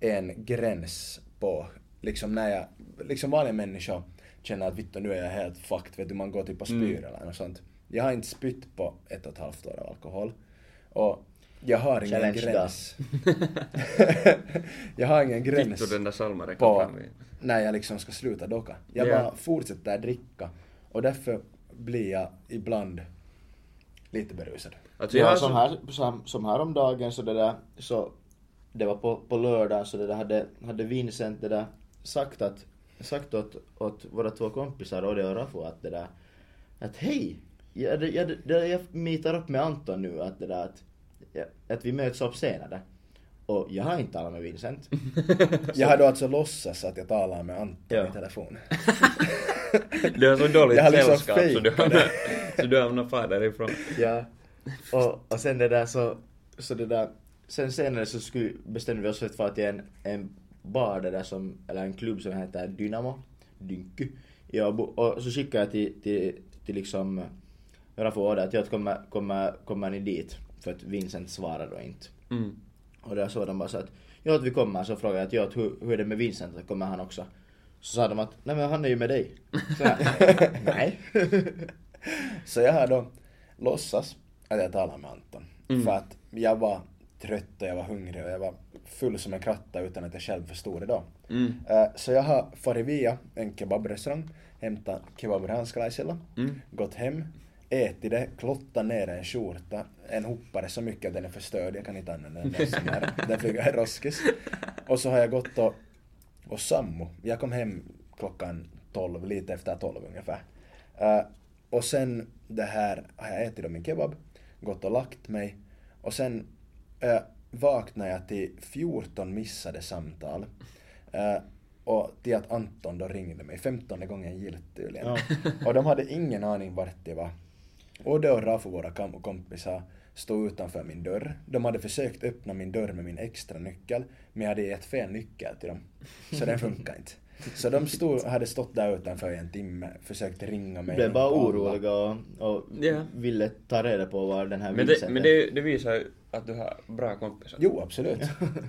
en gräns på, liksom när jag, liksom vanliga människor känner att vittu nu är jag helt fucked, vet du man går typ och spyr eller något sånt. Jag har inte spytt på ett och ett halvt år av alkohol. Och jag har ingen Challenge dag. gräns. jag har ingen gräns Vittu den där salmarekan på fram i. när jag liksom ska sluta docka. Jag Ja. bara fortsätter dricka och därför blir jag ibland lite berusad. Alltså jag Ja, har som, så- här, som, som häromdagen så det där, så det var på, på lördag så det där hade, hade Vincent det där sagt att, sagt åt, åt våra två kompisar Odde och Rafo att det där, att hej! Jag, det- jag, det, jag meetar upp med Anton nu att det där att, ja, att vi möts upp senare. Och jag har inte talat med Vincent. Jag har då alltså låtsas att jag talar med Anton Ja. i telefon. Du har så dåligt Jag har liksom sällskap så du, hamnar, så du hamnar far därifrån. Ja. Och, och sen det där så, så det där, sen senare så skulle, bestämde vi oss för att fara till en, en bar det där som, eller en klubb som heter Dynamo, Dynky. Ja, och så skickade jag till, till, till liksom Raffo och Oda att jag kommer, kommer, kommer ni dit? För att Vincent svarade då inte. Mm. Och där såg de bara så att, ja att vi kommer. Så frågade jag att, ja, att hur, hur är det med Vincent, att kommer han också? Så sa de att, nej men han är ju med dig. Så här, nej. Så jag har då låtsas att jag talar med Anton. För att jag var trött och jag var hungrig och jag var full som en kratta utan att jag själv förstod det då. Eh, Så jag har farit via en kebabrestaurang, hämtat kebabransklaisella, gått hem, ätit det, klottat ner en skjorta, en hoppare så mycket att den är förstörd, jag kan inte använda den där som är, den flyger i roskis. Och så har jag gått och och Sammo. Jag kom hem klockan 12, lite efter 12 ungefär. Eh, och sen det här har jag ätit då min kebab, gått och lagt mig. Och sen eh, vaknade jag till 14 missade samtal. Eh, och till att Anton då ringde mig, 15 gången gillt tydligen. Och de hade ingen aning vart det var. Och då Rafu, våra kam- kompisar, stod utanför min dörr. De hade försökt öppna min dörr med min extra nyckel, men jag hade gett fel nyckel till dem. Så den funkar inte. Så de stod, hade stått där utanför i en timme, försökt ringa mig. blev bara ringa alla. oroliga och, och Ja. ville ta reda på var den här Men, det, Vincenten... men det, det visar ju att du har bra kompisar. Jo, absolut.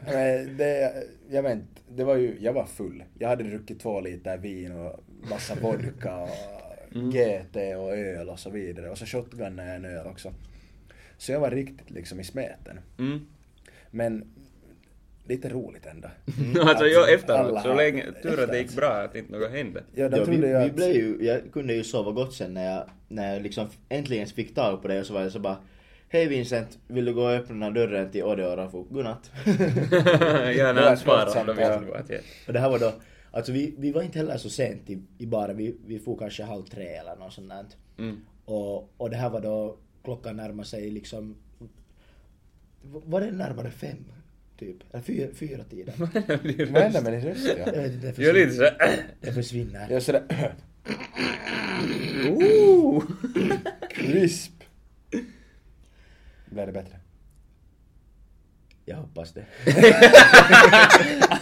Men det, jag vet inte, det var ju, jag var full. Jag hade druckit två liter vin och massa vodka och Mm. GT och öl och så vidare. Och så shotgunnade jag en öl också. Så jag var riktigt liksom i smeten. Mm. Men lite roligt ändå. alltså jag efteråt, Mm. alla- så länge, tur att det efteråt. gick bra att inte något hände. Ja, de ja, vi, trodde ju vi att... blev ju, jag kunde ju sova gott sen när jag, när jag liksom äntligen fick tag på dig och så var jag så bara Hej Vincent, vill du gå och öppna den här dörren till Odde och Rafu? Godnatt. ja, när var han ett svarade, skötsamt, då ja. visste du att jag... och det här var då, alltså vi, vi var inte heller så sent i, i baren, vi, vi får kanske halv tre eller något sånt där. Mm. Och, och det här var då, klockan närmar sig liksom, var det närmare fem? Typ, eller fyra, fyra tiden. Vad hände med din röst? Ja? Jag vet inte, jag Jag är lite försvinner. såhär... Jag försvinner. Jag är sådär Ooh. crisp. Blev det bättre? Jag hoppas det.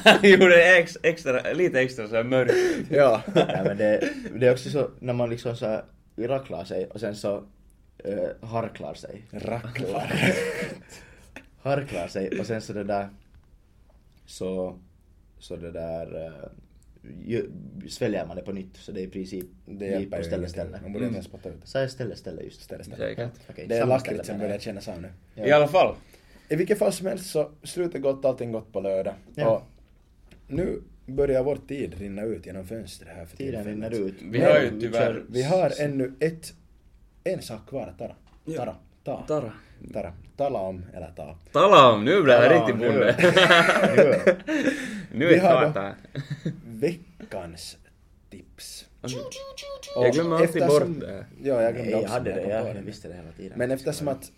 Han gjorde ex, extra, lite extra såhär mörk. Ja. Nej, men det, det är också så när man liksom så här racklar sig och sen så eh, harklar sig. Racklar. Harklar sig och sen så det där så, så det där eh, ju, sväljer man det på nytt så det är i princip Det i- hjälper på ju ställe ingenting. ställe. Man borde inte ens spotta ut det. Sa jag ställe ställe just? Ställe, ställe. Säkert. Okej, Det är samma lakrits ställe som menar börjar jag. kännas av nu. I alla fall. I vilket fall som helst så slutet gott, allting gott på lördag. Ja. Och nu börjar vår tid rinna ut genom fönstret här för Tiden tillfället. rinner ut. Vi Men har ju tyvärr- kör- Vi har ännu ett, en sak kvar att tara. Ja. Tara. Ta. Tara. Tara. Tala om eller ta. Tala om, nu blir jag Tala om, riktigt nu. bonde. Ja. nu Vi är har då- Tata. Veckans tips. Jag glömmer Och alltid eftersom- bort det. Ja, jag glömde Nej, jag också hade när det, kom på jag visste det hela tiden. Men eftersom att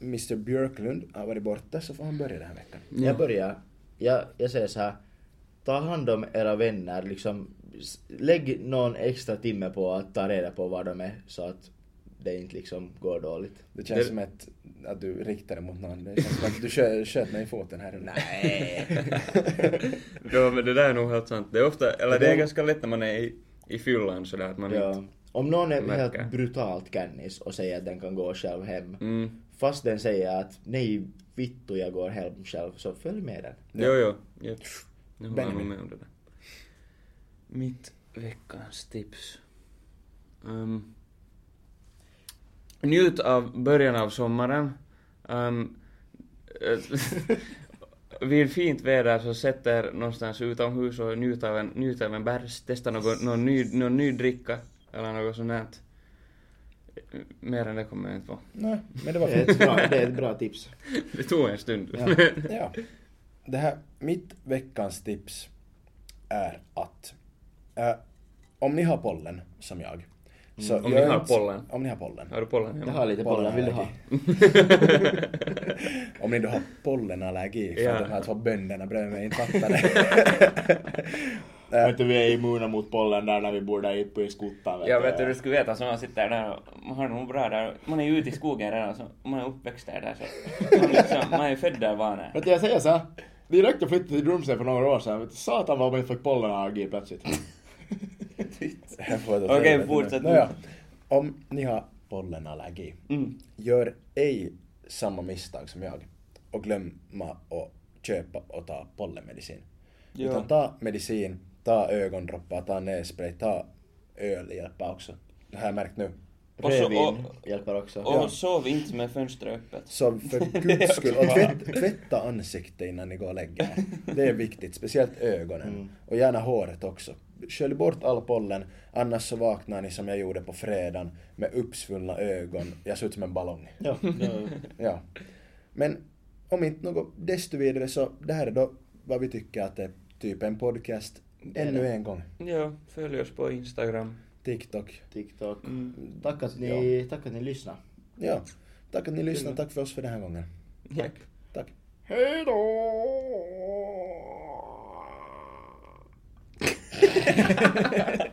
Mr Björklund har varit borta så får han börja den här veckan. Jag börjar. Jag, jag säger så här. Ta hand om era vänner. Liksom, s- lägg någon extra timme på att ta reda på var de är så att det inte liksom går dåligt. Det känns som att, att du riktar dig mot någon. Det känns som att du kö- sköt mig i foten här. Ja men det där är nog helt sant. Det är ofta, eller det är Ja. ganska lätt när man är i, i fyllan sådär att man Ja. inte Om någon är Mörker. helt brutalt kännis och säger att den kan gå själv hem. Mm. Fast den säger att nej vittu jag går hem själv så följ med den. Jo, jo. Jep. Nu håller jag nog Benjamin. med om det där. Mitt veckans tips. Ehm, njut av början av sommaren. Ehm, eh, vid fint väder så sätt er någonstans utomhus och njut av en, njut av en bärs. Testa någon, någon, ny, någon ny dricka eller något sånt där. Mer än det kommer jag inte på. Nej, men det var Det är ett bra, det är ett bra tips. Det tog en stund. Ja. Det här, mitt veckans tips är att eh, om ni har pollen, som jag, så Mm, Om gör ni har inte- pollen. Om ni har pollen. Har du pollen hemma? Jag har lite bollar, vill du ha? Om ni då har pollenallergi, för Ja. de här två bönderna bredvid mig inte fattar det. Eh. Vet du, vi är immuna mot pollen där när vi bor där uppe i skuttan. Jag vet du, du skulle veta som man sitter där och man har det nog bra där. Man är ju ute i skogen redan så man är uppväxt där, där så man, liksom, man är ju född där van Vet du, jag säger så här. Direkt jag flyttade till Drumsen för några år sedan, vet du, satan vad man inte fick pollenallergi plötsligt. Jag får ta Okej, det nu. fortsätt nu. Nåja. No Om ni har pollenallergi, gör ej samma misstag som jag och glömma att köpa och ta pollenmedicin. Ja. Utan ta medicin, ta ögondroppar, ta nässpray, ta öl hjälper också. Det har jag märkt nu. Och så- Rödvin och- hjälper också. Och sov inte med fönstret öppet. Så för guds skull, och tvätt, tvätta ansiktet innan ni går och lägger er. Det är viktigt, speciellt ögonen. Och gärna håret också. Skölj bort all pollen, annars så vaknar ni som jag gjorde på fredagen med uppsvullna ögon. Jag ser ut som en ballong. Ja, ja. Ja. Men om inte något desto vidare så det här är då vad vi tycker att det är typ en podcast ännu en gång. Ja, följ oss på Instagram. TikTok. TikTok. Tack att ni, tack att ni lyssnade. Ja. Tack att ni lyssnade, tack för oss för den här gången. Tack. Tack. Hej då!